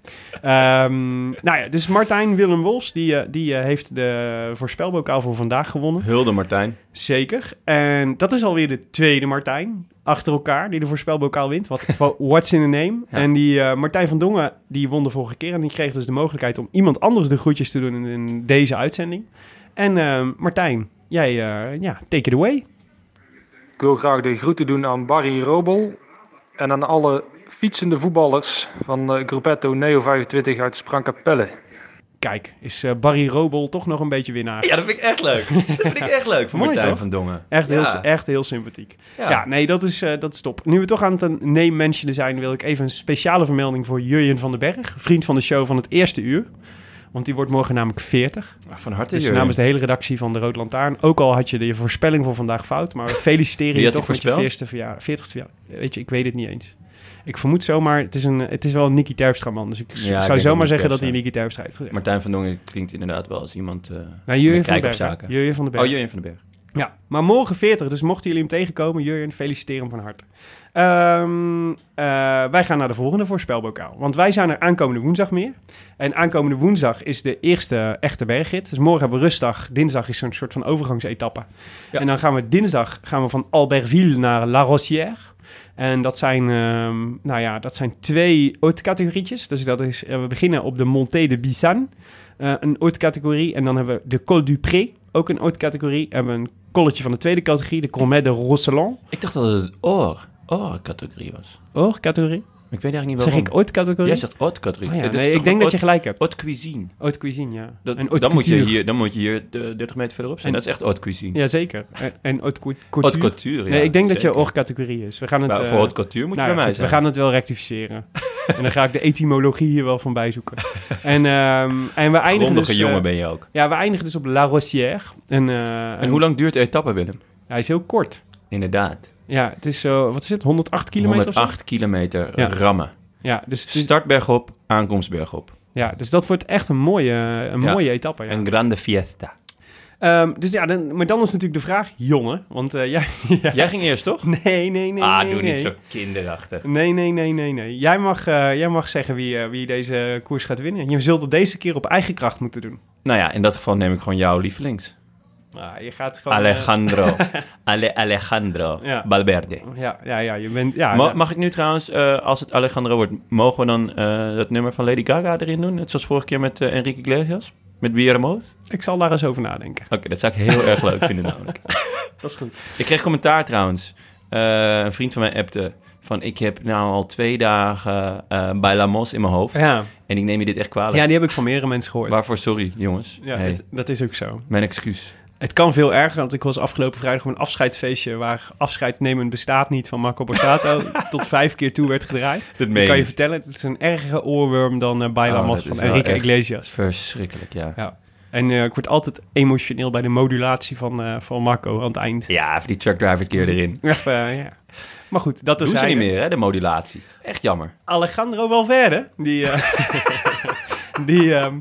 Speaker 1: Ehm, nou ja, dus Martijn Willem Wolfs, die, eh, die eh, heeft de voorspelbokaal voor vandaag gewonnen.
Speaker 5: Hulde Martijn.
Speaker 1: Zeker. En dat is alweer de tweede Martijn achter elkaar die de voorspelbokaal wint. Wat, what's in the name?
Speaker 5: Ja.
Speaker 1: En die eh, Martijn van Dongen, die won de vorige keer. En die kreeg dus de mogelijkheid om iemand anders de groetjes te doen in, in deze uitzending. En eh, Martijn, jij, eh, ja, take it away.
Speaker 7: Ik wil graag de groeten doen aan Barry Robel en aan alle fietsende voetballers van eh, Gruppetto Neo 25 uit Sprankapelle.
Speaker 1: Kijk, is eh, Barry Robel toch nog een beetje winnaar.
Speaker 5: Ja, dat vind ik echt leuk. Dat vind ik echt leuk van
Speaker 1: Mooi,
Speaker 5: Martijn
Speaker 1: toch?
Speaker 5: van Dongen.
Speaker 1: Echt, heel,
Speaker 5: Ja.
Speaker 1: echt heel sympathiek.
Speaker 5: Ja.
Speaker 1: Ja, nee, dat is, eh, dat is top. Nu we toch aan het name-mentionen zijn, wil ik even een speciale vermelding voor Jurjen van den Berg. Vriend van de show van het eerste uur. Want die wordt morgen namelijk 40.
Speaker 5: Ah, Van harte,
Speaker 1: Dus
Speaker 5: Jurjen.
Speaker 1: namens de hele redactie van de Rood Lantaarn. Ook al had je de voorspelling voor vandaag fout. Maar we feliciteren
Speaker 5: Wie
Speaker 1: je
Speaker 5: had die
Speaker 1: toch met je
Speaker 5: voorspeld?
Speaker 1: 40ste verjaardag. 40ste verjaardag. Weet je, ik weet het niet eens. Ik vermoed zomaar, het is, een, het is wel een Nicky Terpstra man. Dus ik
Speaker 5: Ja, ik denk
Speaker 1: zou
Speaker 5: ook
Speaker 1: zomaar
Speaker 5: Nicky
Speaker 1: zeggen dat
Speaker 5: Terpstra.
Speaker 1: hij Nicky Terpstra heeft gezegd.
Speaker 5: Martijn van Dongen klinkt inderdaad wel als iemand... eh
Speaker 1: nou, Jurjen
Speaker 5: met
Speaker 1: van, den
Speaker 5: kijk op
Speaker 1: Berg, hè?
Speaker 5: zaken.
Speaker 1: Jurjen van den Berg.
Speaker 5: Oh, Jurjen van den Berg.
Speaker 1: Ja, maar morgen 40. Dus mochten jullie hem tegenkomen, Jurjen, feliciteer hem van harte. Ehm, eh, wij gaan naar de volgende voorspelbokaal. Want wij zijn er aankomende woensdag meer. En aankomende woensdag is de eerste echte bergrit. Dus morgen hebben we rustdag. Dinsdag is zo'n soort van overgangsetappe.
Speaker 5: Ja.
Speaker 1: En dan gaan we dinsdag gaan we van Albertville naar La Rosière. En dat zijn, ehm, nou ja, dat zijn twee haute-categorietjes. Dus dat is, eh, we beginnen op de Montée de Bissan, eh, een haute-categorie. En dan hebben we de Col du Pré, ook een haute-categorie. En we hebben een colletje van de tweede categorie, de Colmet de Rosselon,
Speaker 5: Ik dacht dat het oor, oor-categorie was.
Speaker 1: hoor, categorie.
Speaker 5: Ik weet eigenlijk niet
Speaker 1: Zeg
Speaker 5: waarom.
Speaker 1: ik ooit categorie?
Speaker 5: Jij zegt haute categorie.
Speaker 1: Oh ja,
Speaker 5: Eh, dit
Speaker 1: nee,
Speaker 5: is toch
Speaker 1: ik denk
Speaker 5: een
Speaker 1: dat je
Speaker 5: haute-
Speaker 1: gelijk hebt.
Speaker 5: haute cuisine.
Speaker 1: Haute cuisine, ja.
Speaker 5: Dat,
Speaker 1: en haute
Speaker 5: dan, moet je
Speaker 1: couture.
Speaker 5: hier, dan moet je hier de 30 meter verderop zijn.
Speaker 1: En-
Speaker 5: dat is echt haute cuisine.
Speaker 1: Jazeker. En- En haute cou- couture.
Speaker 5: Haute couture, ja.
Speaker 1: Nee, ik denk dat je
Speaker 5: zeker.
Speaker 1: oor categorie is. We gaan het...
Speaker 5: Maar
Speaker 1: eh,
Speaker 5: voor haute couture moet je
Speaker 1: nou ja,
Speaker 5: bij mij
Speaker 1: goed,
Speaker 5: zijn.
Speaker 1: We gaan het wel rectificeren. en dan ga ik de etymologie hier wel van bijzoeken. en, ehm, en we eindigen
Speaker 5: Grondige
Speaker 1: dus... eh,
Speaker 5: jongen ben je ook.
Speaker 1: ja, we eindigen dus op La Rosière. En, eh,
Speaker 5: En hoe lang duurt de etappe, Willem?
Speaker 1: Hij is heel kort.
Speaker 5: Inderdaad.
Speaker 1: Ja, het is zo... wat is het? 108 kilometer of zo?
Speaker 5: 108 kilometer
Speaker 1: Ja.
Speaker 5: rammen.
Speaker 1: Ja, dus het is-
Speaker 5: Start bergop, aankomst bergop.
Speaker 1: ja, dus dat wordt echt een mooie, een
Speaker 5: Ja.
Speaker 1: mooie etappe. Ja.
Speaker 5: Een grande fiesta.
Speaker 1: Ehm, dus ja, dan, maar dan is natuurlijk de vraag, jongen. Want eh, jij, ja,
Speaker 5: Jij ging eerst, toch?
Speaker 1: Nee, nee, nee.
Speaker 5: ah,
Speaker 1: nee,
Speaker 5: doe
Speaker 1: nee.
Speaker 5: niet zo kinderachtig.
Speaker 1: Nee, nee, nee, nee, nee. Jij mag, eh, jij mag zeggen wie, eh, wie deze koers gaat winnen. Je zult het deze keer op eigen kracht moeten doen.
Speaker 5: Nou ja, in dat geval neem ik gewoon jouw lievelings.
Speaker 1: Ah, je gaat gewoon... eh,
Speaker 5: Alejandro. Ale Alejandro.
Speaker 1: Ja.
Speaker 5: Valverde.
Speaker 1: ja, ja, ja, je bent... Ja,
Speaker 5: Ma-
Speaker 1: ja.
Speaker 5: mag ik nu trouwens, eh, als het Alejandro wordt, mogen we dan eh dat nummer van Lady Gaga erin doen? Net zoals vorige keer met eh, Enrique Iglesias? Met Wie Oké,
Speaker 1: Ik zal daar eens over nadenken.
Speaker 5: dat zou ik heel erg leuk vinden namelijk.
Speaker 1: Dat is goed.
Speaker 5: Ik kreeg commentaar trouwens. Eh, een vriend van mij appte van... ik heb nou al twee dagen eh bij Lamos in mijn hoofd...
Speaker 1: Ja.
Speaker 5: en ik neem je dit echt kwalijk.
Speaker 1: ja, die heb ik van meerdere mensen gehoord.
Speaker 5: Waarvoor sorry, jongens.
Speaker 1: Ja,
Speaker 5: Hey,
Speaker 1: dat, dat is ook zo.
Speaker 5: Mijn excuus.
Speaker 1: Het kan veel erger, want ik was afgelopen vrijdag op een afscheidsfeestje... waar afscheid nemen bestaat niet van Marco Borsato... tot vijf keer toe werd gedraaid.
Speaker 5: Dat
Speaker 1: Ik kan je vertellen, het is een ergere oorworm dan eh Baila
Speaker 5: Oh,
Speaker 1: Mas
Speaker 5: dat
Speaker 1: van
Speaker 5: is wel
Speaker 1: Enrique
Speaker 5: echt-
Speaker 1: Iglesias.
Speaker 5: Verschrikkelijk, ja.
Speaker 1: Ja. En eh, ik word altijd emotioneel bij de modulatie van, eh, van Marco aan het eind.
Speaker 5: Ja, even die truckdriver een keer erin.
Speaker 1: Of, eh, ja. Maar goed, dat
Speaker 5: Doen
Speaker 1: is
Speaker 5: ze niet meer, hè, de modulatie. Echt jammer.
Speaker 1: Alejandro Valverde, die, eh, die ehm,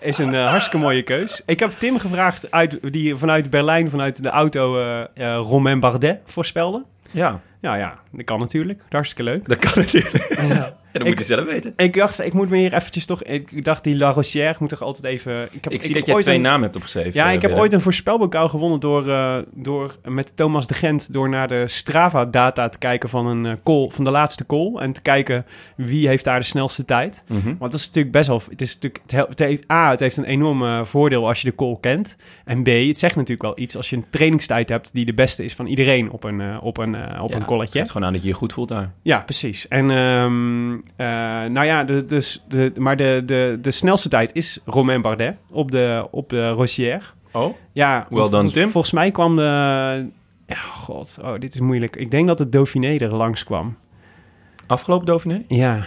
Speaker 1: is een eh, hartstikke mooie keus. Ik heb Tim gevraagd, uit, die vanuit Berlijn, vanuit de auto, eh eh, Romain Bardet voorspelde.
Speaker 5: Ja,
Speaker 1: Nou ja, dat kan natuurlijk. Hartstikke leuk.
Speaker 5: dat kan natuurlijk. dat moet
Speaker 1: Ik-
Speaker 5: je zelf weten.
Speaker 1: Ik dacht, ik moet me hier eventjes toch... Ik dacht, die La Rossière moet toch altijd even... heb-
Speaker 5: Ik
Speaker 1: heb
Speaker 5: zie dat jij
Speaker 1: ooit
Speaker 5: twee
Speaker 1: een-
Speaker 5: namen hebt opgeschreven.
Speaker 1: Ja, ik
Speaker 5: eh,
Speaker 1: heb
Speaker 5: Willem.
Speaker 1: ooit een voorspelbokaal gewonnen door, eh, door met Thomas de Gent door naar de Strava-data te kijken van, een, eh, call, van de laatste call. En te kijken wie heeft daar de snelste tijd.
Speaker 5: Mhm.
Speaker 1: Want dat is natuurlijk best wel... Het is natuurlijk, het hel- het heeft, A, het heeft een enorm eh, voordeel als je de call kent. En B, het zegt natuurlijk wel iets als je een trainingstijd hebt... die de beste is van iedereen op een, eh, op een, eh, op
Speaker 5: Ja,
Speaker 1: een colletje.
Speaker 5: Het is gewoon aan dat je je goed voelt daar.
Speaker 1: Ja, precies. En ehm, eh, nou ja, de, dus de, maar de, de, de snelste tijd is Romain Bardet op de, op de Rossière.
Speaker 5: Oh?
Speaker 1: Ja,
Speaker 5: Well done,
Speaker 1: volgens-
Speaker 5: Tim.
Speaker 1: Volgens mij kwam de. Ja, god, oh, dit is moeilijk. Ik denk dat het Dauphiné er langskwam.
Speaker 5: Afgelopen Dauphiné?
Speaker 1: Ja,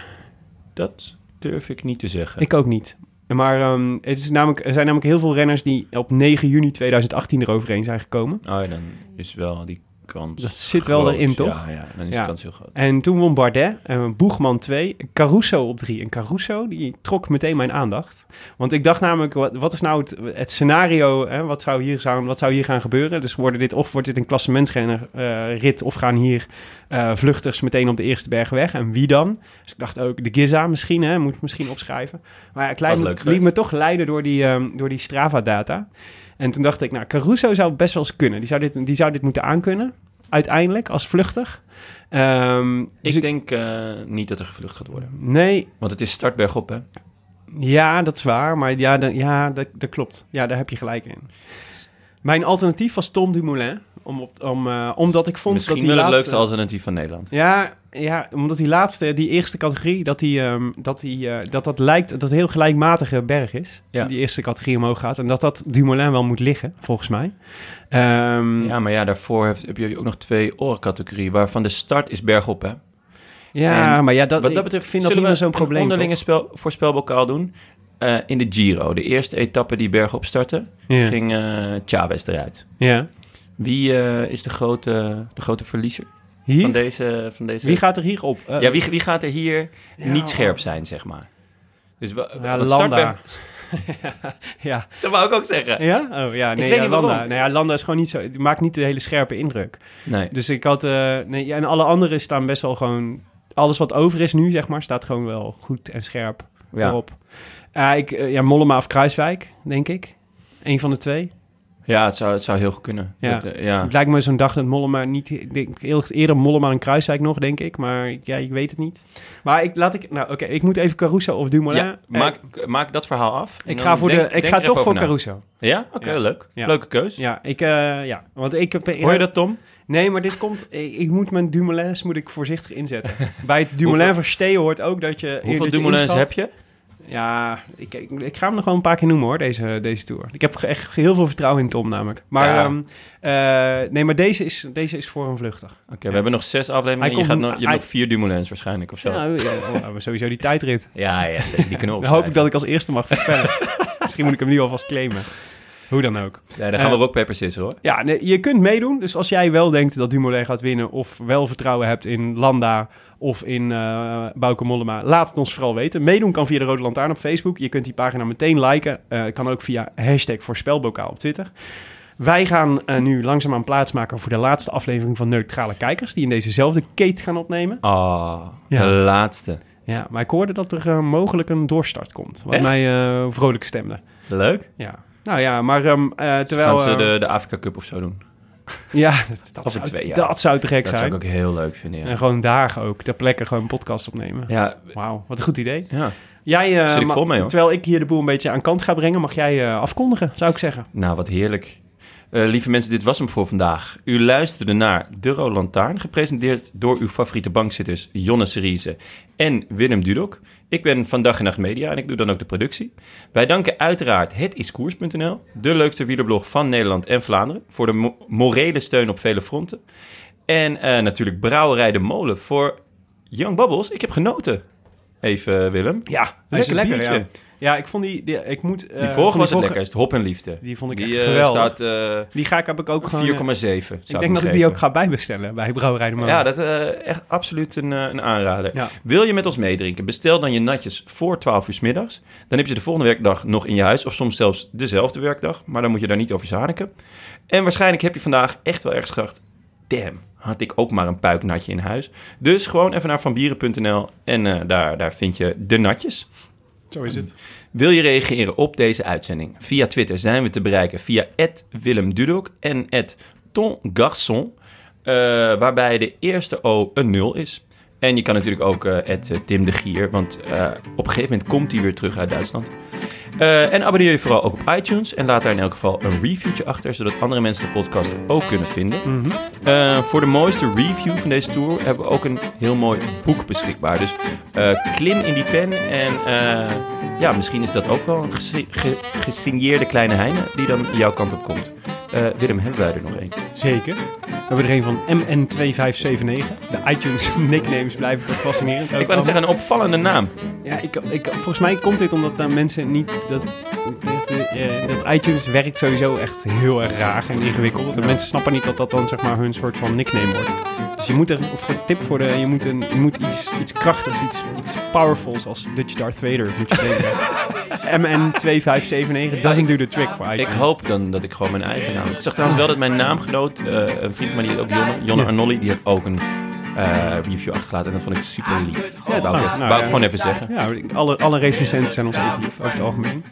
Speaker 5: Dat durf ik niet te zeggen.
Speaker 1: ik ook niet. Maar ehm, het is namelijk, er zijn namelijk heel veel renners die op 9 juni 2018 eroverheen zijn gekomen.
Speaker 5: Oh ja, dan is wel die kans
Speaker 1: Dat zit wel
Speaker 5: groot.
Speaker 1: erin, toch?
Speaker 5: Ja, ja dan is
Speaker 1: Ja.
Speaker 5: de kans heel groot.
Speaker 1: En toen won Bardet, en Boegman 2, Caruso op 3. En Caruso, die trok meteen mijn aandacht. Want ik dacht namelijk, wat, wat is nou het, het scenario, hè? Wat, zou hier zou, wat zou hier gaan gebeuren? Dus worden dit, of wordt dit een klassementsrenner eh, rit, of gaan hier eh, vluchters meteen op de eerste berg weg? En wie dan? Dus ik dacht ook, de Giza misschien, hè? moet ik misschien opschrijven. Maar ja, ik leid-
Speaker 5: Was leuk
Speaker 1: liet
Speaker 5: geweest.
Speaker 1: me toch leiden door die, ehm, door die Strava-data. En toen dacht ik, nou, Caruso zou best wel eens kunnen. Die zou dit, die zou dit moeten aankunnen, uiteindelijk, als vluchtig. Ehm, dus
Speaker 5: Ik denk eh, niet dat er gevlucht gaat worden.
Speaker 1: Nee,
Speaker 5: Want het is start bergop, hè?
Speaker 1: ja, dat is waar. Maar ja, da- ja dat, dat klopt. Ja, daar heb je gelijk in. Mijn alternatief was Tom Dumoulin. Om op, om, eh, omdat ik vond
Speaker 5: Misschien
Speaker 1: dat
Speaker 5: wel
Speaker 1: die
Speaker 5: het
Speaker 1: laatste...
Speaker 5: leukste alternatief van Nederland.
Speaker 1: Ja, ja, omdat die laatste, die eerste categorie, dat die, ehm, dat, die, eh, dat, dat lijkt dat het heel gelijkmatige berg is.
Speaker 5: Ja.
Speaker 1: Die eerste categorie omhoog gaat. En dat dat Dumoulin wel moet liggen, volgens mij. Ehm,
Speaker 5: Ja, maar ja, daarvoor heb, heb je ook nog twee oorcategorieën, waarvan de start is bergop, hè?
Speaker 1: ja,
Speaker 5: en
Speaker 1: maar ja, dat,
Speaker 5: Wat dat
Speaker 1: betreft,
Speaker 5: betreft
Speaker 1: vind dat
Speaker 5: zullen
Speaker 1: niet
Speaker 5: we
Speaker 1: meer zo'n probleem.
Speaker 5: een
Speaker 1: toch?
Speaker 5: onderlinge spel, voorspelbokaal doen eh, in de Giro. De eerste etappe die bergop startte,
Speaker 1: Ja.
Speaker 5: ging eh Chavez eruit.
Speaker 1: ja.
Speaker 5: Wie eh, is de grote, de grote verliezer
Speaker 1: Hier?
Speaker 5: van deze... Van deze...
Speaker 1: Wie gaat er hier op? Eh,
Speaker 5: ja, wie, wie gaat er hier
Speaker 1: ja.
Speaker 5: niet scherp zijn, zeg maar? Dus wa-
Speaker 1: Ja,
Speaker 5: want
Speaker 1: Landa.
Speaker 5: startberg-
Speaker 1: ja.
Speaker 5: Dat wou ik ook zeggen.
Speaker 1: Ja? Oh ja, nee,
Speaker 5: weet
Speaker 1: ja,
Speaker 5: niet
Speaker 1: Landa.
Speaker 5: waarom.
Speaker 1: Nou ja, Landa is gewoon niet zo... Het maakt niet de hele scherpe indruk.
Speaker 5: Nee.
Speaker 1: Dus ik had... eh, nee, ja, en alle anderen staan best wel gewoon... Alles wat over is nu, zeg maar, staat gewoon wel goed en scherp
Speaker 5: Ja.
Speaker 1: erop. Ja, ik, eh, ja Mollema of Kruiswijk, denk ik. Eén van de twee.
Speaker 5: Ja, het zou, het zou heel goed kunnen.
Speaker 1: Ja.
Speaker 5: Dat, eh, ja.
Speaker 1: Het lijkt me zo'n dag dat Mollema niet... ik Denk, eerlijk- eerder Mollema en Kruiswijk nog, denk ik. Maar ja, ik weet het niet. Maar ik, laat ik... Nou, oké, ik moet even Caruso of Dumoulin.
Speaker 5: Ja,
Speaker 1: Eh,
Speaker 5: maak, maak dat verhaal af. en
Speaker 1: ik
Speaker 5: dan
Speaker 1: ga, voor
Speaker 5: denk-
Speaker 1: de, ik
Speaker 5: denk
Speaker 1: ga
Speaker 5: er
Speaker 1: toch
Speaker 5: even
Speaker 1: voor
Speaker 5: over na.
Speaker 1: Caruso.
Speaker 5: Ja? Oké,
Speaker 1: Ja.
Speaker 5: leuk.
Speaker 1: Ja.
Speaker 5: Leuke keus.
Speaker 1: Ja, ik... eh, ja, want ik heb...
Speaker 5: Hoor je dat, Tom?
Speaker 1: Nee, maar dit komt... Ik, ik moet mijn Dumoulins moet ik voorzichtig inzetten. Bij het Dumoulin verstee hoort ook dat je...
Speaker 5: Hoeveel
Speaker 1: dat je
Speaker 5: Dumoulins
Speaker 1: inschat.
Speaker 5: heb je?
Speaker 1: Ja, ik, ik, ik ga hem nog wel een paar keer noemen hoor, deze, deze tour. Ik heb ge- echt heel veel vertrouwen in Tom namelijk. Maar
Speaker 5: Ja.
Speaker 1: ehm, eh, nee, maar deze is, deze is voor een vluchtig.
Speaker 5: Oké, we hebben nog zes afleveringen.
Speaker 1: Hij
Speaker 5: en je,
Speaker 1: komt-
Speaker 5: gaat nog, je
Speaker 1: hij-
Speaker 5: hebt nog vier Dumoulins waarschijnlijk of zo. Ja,
Speaker 1: Ja, ja, oh, maar sowieso die tijdrit.
Speaker 5: ja, zeker, die kunnen we
Speaker 1: Dan hoop ik dat
Speaker 5: opschrijven.
Speaker 1: ik als eerste mag vertellen. Misschien moet ik hem nu alvast claimen. Hoe dan ook.
Speaker 5: Ja, dan gaan we
Speaker 1: Eh,
Speaker 5: rock, paper, scissors hoor.
Speaker 1: Ja, nee, je kunt meedoen. Dus als jij wel denkt dat Dumoulin gaat winnen... of wel vertrouwen hebt in Landa of in eh Bauke Mollema... laat het ons vooral weten. Meedoen kan via de Rode Lantaarn op Facebook. Je kunt die pagina meteen liken. Eh kan ook via hashtag voorspelbokaal op Twitter. Wij gaan eh, nu langzaamaan plaatsmaken voor de laatste aflevering van Neutrale Kijkers... die in dezezelfde kate gaan opnemen.
Speaker 5: Ah,
Speaker 1: Ja.
Speaker 5: de laatste.
Speaker 1: Ja, maar ik hoorde dat er eh, mogelijk een doorstart komt. Wat
Speaker 5: Echt?
Speaker 1: mij eh, vrolijk stemde.
Speaker 5: Leuk.
Speaker 1: Ja. Nou ja, maar ehm, eh, terwijl...
Speaker 5: Terwijl, gaan ze
Speaker 1: eh,
Speaker 5: de, de Afrika Cup of zo doen.
Speaker 1: Ja, dat, dat
Speaker 5: Over
Speaker 1: zou,
Speaker 5: twee jaar.
Speaker 1: dat zou te gek
Speaker 5: Dat zou
Speaker 1: zijn.
Speaker 5: ik ook heel leuk vinden, ja.
Speaker 1: En gewoon dagen ook, ter plekke gewoon een podcast opnemen.
Speaker 5: Ja,
Speaker 1: Wauw, wat een goed idee.
Speaker 5: ja.
Speaker 1: Jij, eh,
Speaker 5: Zit ik
Speaker 1: ma-
Speaker 5: vol mee, hoor.
Speaker 1: Terwijl ik hier de boel een beetje aan kant ga brengen, mag jij eh, afkondigen, zou ik zeggen.
Speaker 5: Nou, wat heerlijk. Eh, lieve mensen, dit was hem voor vandaag. U luisterde naar De Rode Lantaarn, gepresenteerd door uw favoriete bankzitters Jonne Seriese en Willem Dudok. Ik ben van Dag en Nacht Media en ik doe dan ook de productie. Wij danken uiteraard hetiskoers.nl, de leukste wielerblog van Nederland en Vlaanderen, voor de mo- morele steun op vele fronten. En eh, natuurlijk Brouwerij de Molen voor Young Bubbles. Ik heb genoten. Even eh, Willem.
Speaker 1: Ja,
Speaker 5: Hij is een
Speaker 1: ja.
Speaker 5: biertje.
Speaker 1: ja, ik vond die... die ik moet, eh,
Speaker 5: Die
Speaker 1: van
Speaker 5: vorige was het
Speaker 1: vorige-
Speaker 5: lekkerst, Hop en Liefde.
Speaker 1: Die vond ik
Speaker 5: Die
Speaker 1: echt
Speaker 5: eh,
Speaker 1: geweldig.
Speaker 5: staat... eh,
Speaker 1: Die ga ik, heb ik ook gewoon... eh,
Speaker 5: 4,7. zou
Speaker 1: ik
Speaker 5: hem
Speaker 1: denk dat ik die
Speaker 5: geven.
Speaker 1: ook ga bijbestellen bij Brouwerij de Molen.
Speaker 5: Ja, dat is echt absoluut een, eh, een aanrader.
Speaker 1: Ja.
Speaker 5: Wil je met ons meedrinken? Bestel dan je natjes voor 12 uur 's middags. Dan heb je ze de volgende werkdag nog in je huis. Of soms zelfs dezelfde werkdag. Maar dan moet je daar niet over zaniken. En waarschijnlijk heb je vandaag echt wel ergens gedacht... Damn, had ik ook maar een puiknatje in huis. Dus gewoon even naar vanbieren.nl en eh, daar, daar vind je de natjes.
Speaker 1: Zo is het.
Speaker 5: Wil je reageren op deze uitzending? Via Twitter zijn we te bereiken via Willem Dudok en @tongarçon, eh, waarbij de eerste O een 0 is. En je kan natuurlijk ook het Tim de Gier, want eh, op een gegeven moment komt hij weer terug uit Duitsland. Eh, en abonneer je vooral ook op iTunes en laat daar in elk geval een reviewtje achter, zodat andere mensen de podcast ook kunnen vinden. Eh, voor de mooiste review van deze tour hebben we ook een heel mooi boek beschikbaar. Dus eh, klim in die pen en eh, ja, misschien is dat ook wel een gesi- ge- gesigneerde kleine heine die dan jouw kant op komt. Eh, Willem, hebben wij er nog één?
Speaker 1: Zeker. We hebben er een van MN2579. De iTunes nicknames blijven toch fascinerend.
Speaker 5: Ik wou net zeggen, een opvallende naam.
Speaker 1: Ja, ik, ik, volgens mij komt dit omdat eh, mensen niet... Dat, dat, eh, dat iTunes werkt sowieso echt heel erg raar en ingewikkeld. En mensen snappen niet dat dat dan zeg maar hun soort van nickname wordt. Dus je moet er, of een tip voor de... Je moet, een, je moet iets, iets krachtigs, iets, iets powerfuls als Dutch Darth Vader moet je denken. MN2579 doesn't do the trick voor
Speaker 5: Ik
Speaker 1: iTunes.
Speaker 5: hoop dan dat ik gewoon mijn eigen naam... Ik zag trouwens wel dat mijn naamgenoot, eh een vriend van mij, die heet ook Jonne, Jonne
Speaker 1: Ja.
Speaker 5: Arnolli, die had ook een eh, review achtergelaten. En dat vond ik super lief. Dat wou ik,
Speaker 1: nou,
Speaker 5: even-
Speaker 1: nou,
Speaker 5: wou ik
Speaker 1: ja.
Speaker 5: gewoon even zeggen.
Speaker 1: Ja, alle, alle recensenten zijn ons even lief, over het algemeen.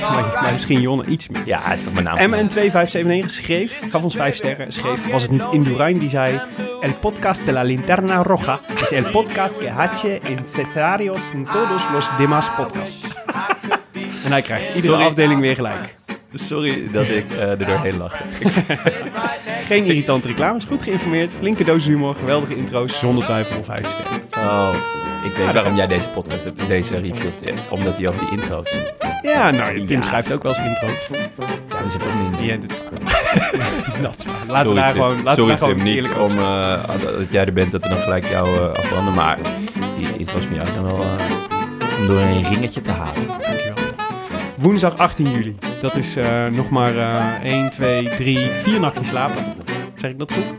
Speaker 1: Maar, maar misschien Jonne iets meer.
Speaker 5: Ja, is toch mijn naam.
Speaker 1: MN2579 schreef, gaf ons 5 sterren, schreef, was het niet Indurain die zei... El podcast de la linterna roja is el podcast que hache en Cesarios en todos los demás podcasts. En hij krijgt iedere
Speaker 5: Sorry.
Speaker 1: afdeling weer gelijk.
Speaker 5: Sorry dat ik eh, er doorheen lachte.
Speaker 1: Geen irritante reclames, goed geïnformeerd, flinke dosis humor, geweldige intro's, zonder twijfel 5 sterren.
Speaker 5: Oh, ik weet waarom jij deze podcast hebt, deze review hebt. eh, Omdat hij over die intro's...
Speaker 1: Ja, nou, Tim
Speaker 5: Ja.
Speaker 1: schrijft ook wel eens intro's.
Speaker 5: Ja, we zitten toch niet in die-
Speaker 1: Ja, dit is waar. Dat is waar. Laten we
Speaker 5: Sorry,
Speaker 1: daar
Speaker 5: Tim.
Speaker 1: gewoon, laten we
Speaker 5: Sorry,
Speaker 1: daar gewoon
Speaker 5: Tim, niet
Speaker 1: eerlijk
Speaker 5: om eh, dat- dat jij er bent, dat we dan gelijk jou eh, afbranden. Maar die intro's van jou zijn wel eh, om door een ringetje te halen.
Speaker 1: Dankjewel. Woensdag 18 juli. Dat is eh, nog maar eh 1, 2, 3, 4 nachtjes slapen. Zeg ik dat goed?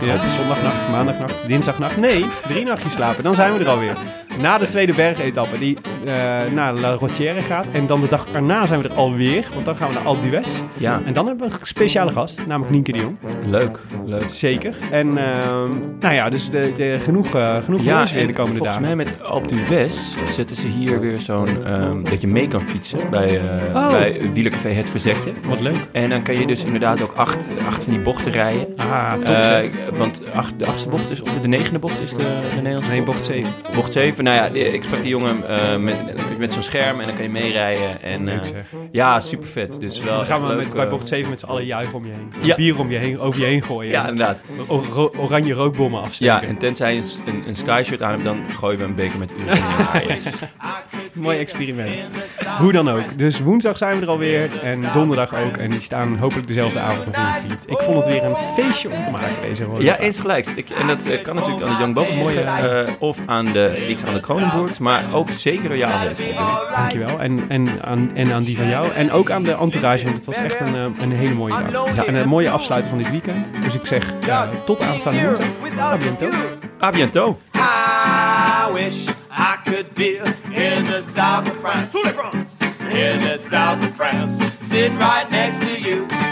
Speaker 1: ja, zondagnacht, maandagnacht, dinsdagnacht. Nee, drie nachtjes slapen. Dan zijn we er alweer. na de tweede bergetappe die eh, naar La Rosière gaat. En dan de dag erna zijn we er alweer, want dan gaan we naar Alpe d'Huez.
Speaker 5: Ja,
Speaker 1: En dan hebben we een speciale gast, namelijk Nienke de Jong.
Speaker 5: leuk. leuk.
Speaker 1: Zeker. En ehm, nou ja, dus de, de, genoeg, eh genoeg
Speaker 5: Ja,
Speaker 1: ja, weer de
Speaker 5: en
Speaker 1: komende
Speaker 5: volgens
Speaker 1: dagen.
Speaker 5: mij met Alpe d'Huez zetten ze hier weer zo'n... ehm, dat je mee kan fietsen bij, eh
Speaker 1: Oh.
Speaker 5: bij Wielercafé Het Verzetje.
Speaker 1: Wat leuk.
Speaker 5: En dan kan je dus inderdaad ook acht, acht van die bochten rijden.
Speaker 1: Ah, top zeg.
Speaker 5: Eh, want acht, de achtste bocht is, of de negende bocht is de, de Nederlandse
Speaker 1: Nee, bocht 7.
Speaker 5: Bocht 7, nou ja, die- ik sprak die jongen eh, met, met zo'n scherm en dan kan je meerijden. En,
Speaker 1: Leuk
Speaker 5: eh,
Speaker 1: zeg.
Speaker 5: ja, super vet. Dus wel
Speaker 1: Dan
Speaker 5: echt
Speaker 1: gaan we
Speaker 5: leuk,
Speaker 1: met, bij
Speaker 5: eh,
Speaker 1: bocht 7 met z'n allen juichen om je heen.
Speaker 5: Ja.
Speaker 1: Bier om je heen, over je heen gooien.
Speaker 5: Ja,
Speaker 1: En
Speaker 5: inderdaad.
Speaker 1: o- ro- oranje rookbommen afsteken.
Speaker 5: Ja, en tenzij je een, s- een, een skyshirt aan hebt, dan gooien we een beker met urine. in je haaien.
Speaker 1: Mooi experiment. Hoe dan ook. Dus woensdag zijn we er alweer. En donderdag ook. En die staan hopelijk dezelfde avond nog in de feed. Ik vond het weer een feestje om te maken deze rode
Speaker 5: ja,
Speaker 1: dag.
Speaker 5: eens gelijks. Ik, en dat eh, kan natuurlijk aan de Young Bubbles liggen, eh, of aan de iets aan de Kronenburgs, maar ook zeker door jou aanwezig.
Speaker 1: Dankjewel. En, en, aan, en aan die van jou. En ook aan de entourage. Want het was echt een, eh, een hele mooie dag. En een mooie afsluiting van dit weekend. Dus ik zeg eh, tot aanstaande woensdag. A bientôt.
Speaker 5: A bientôt!
Speaker 4: I wish I could be in the south of France. In the south of France, sitting right next to you.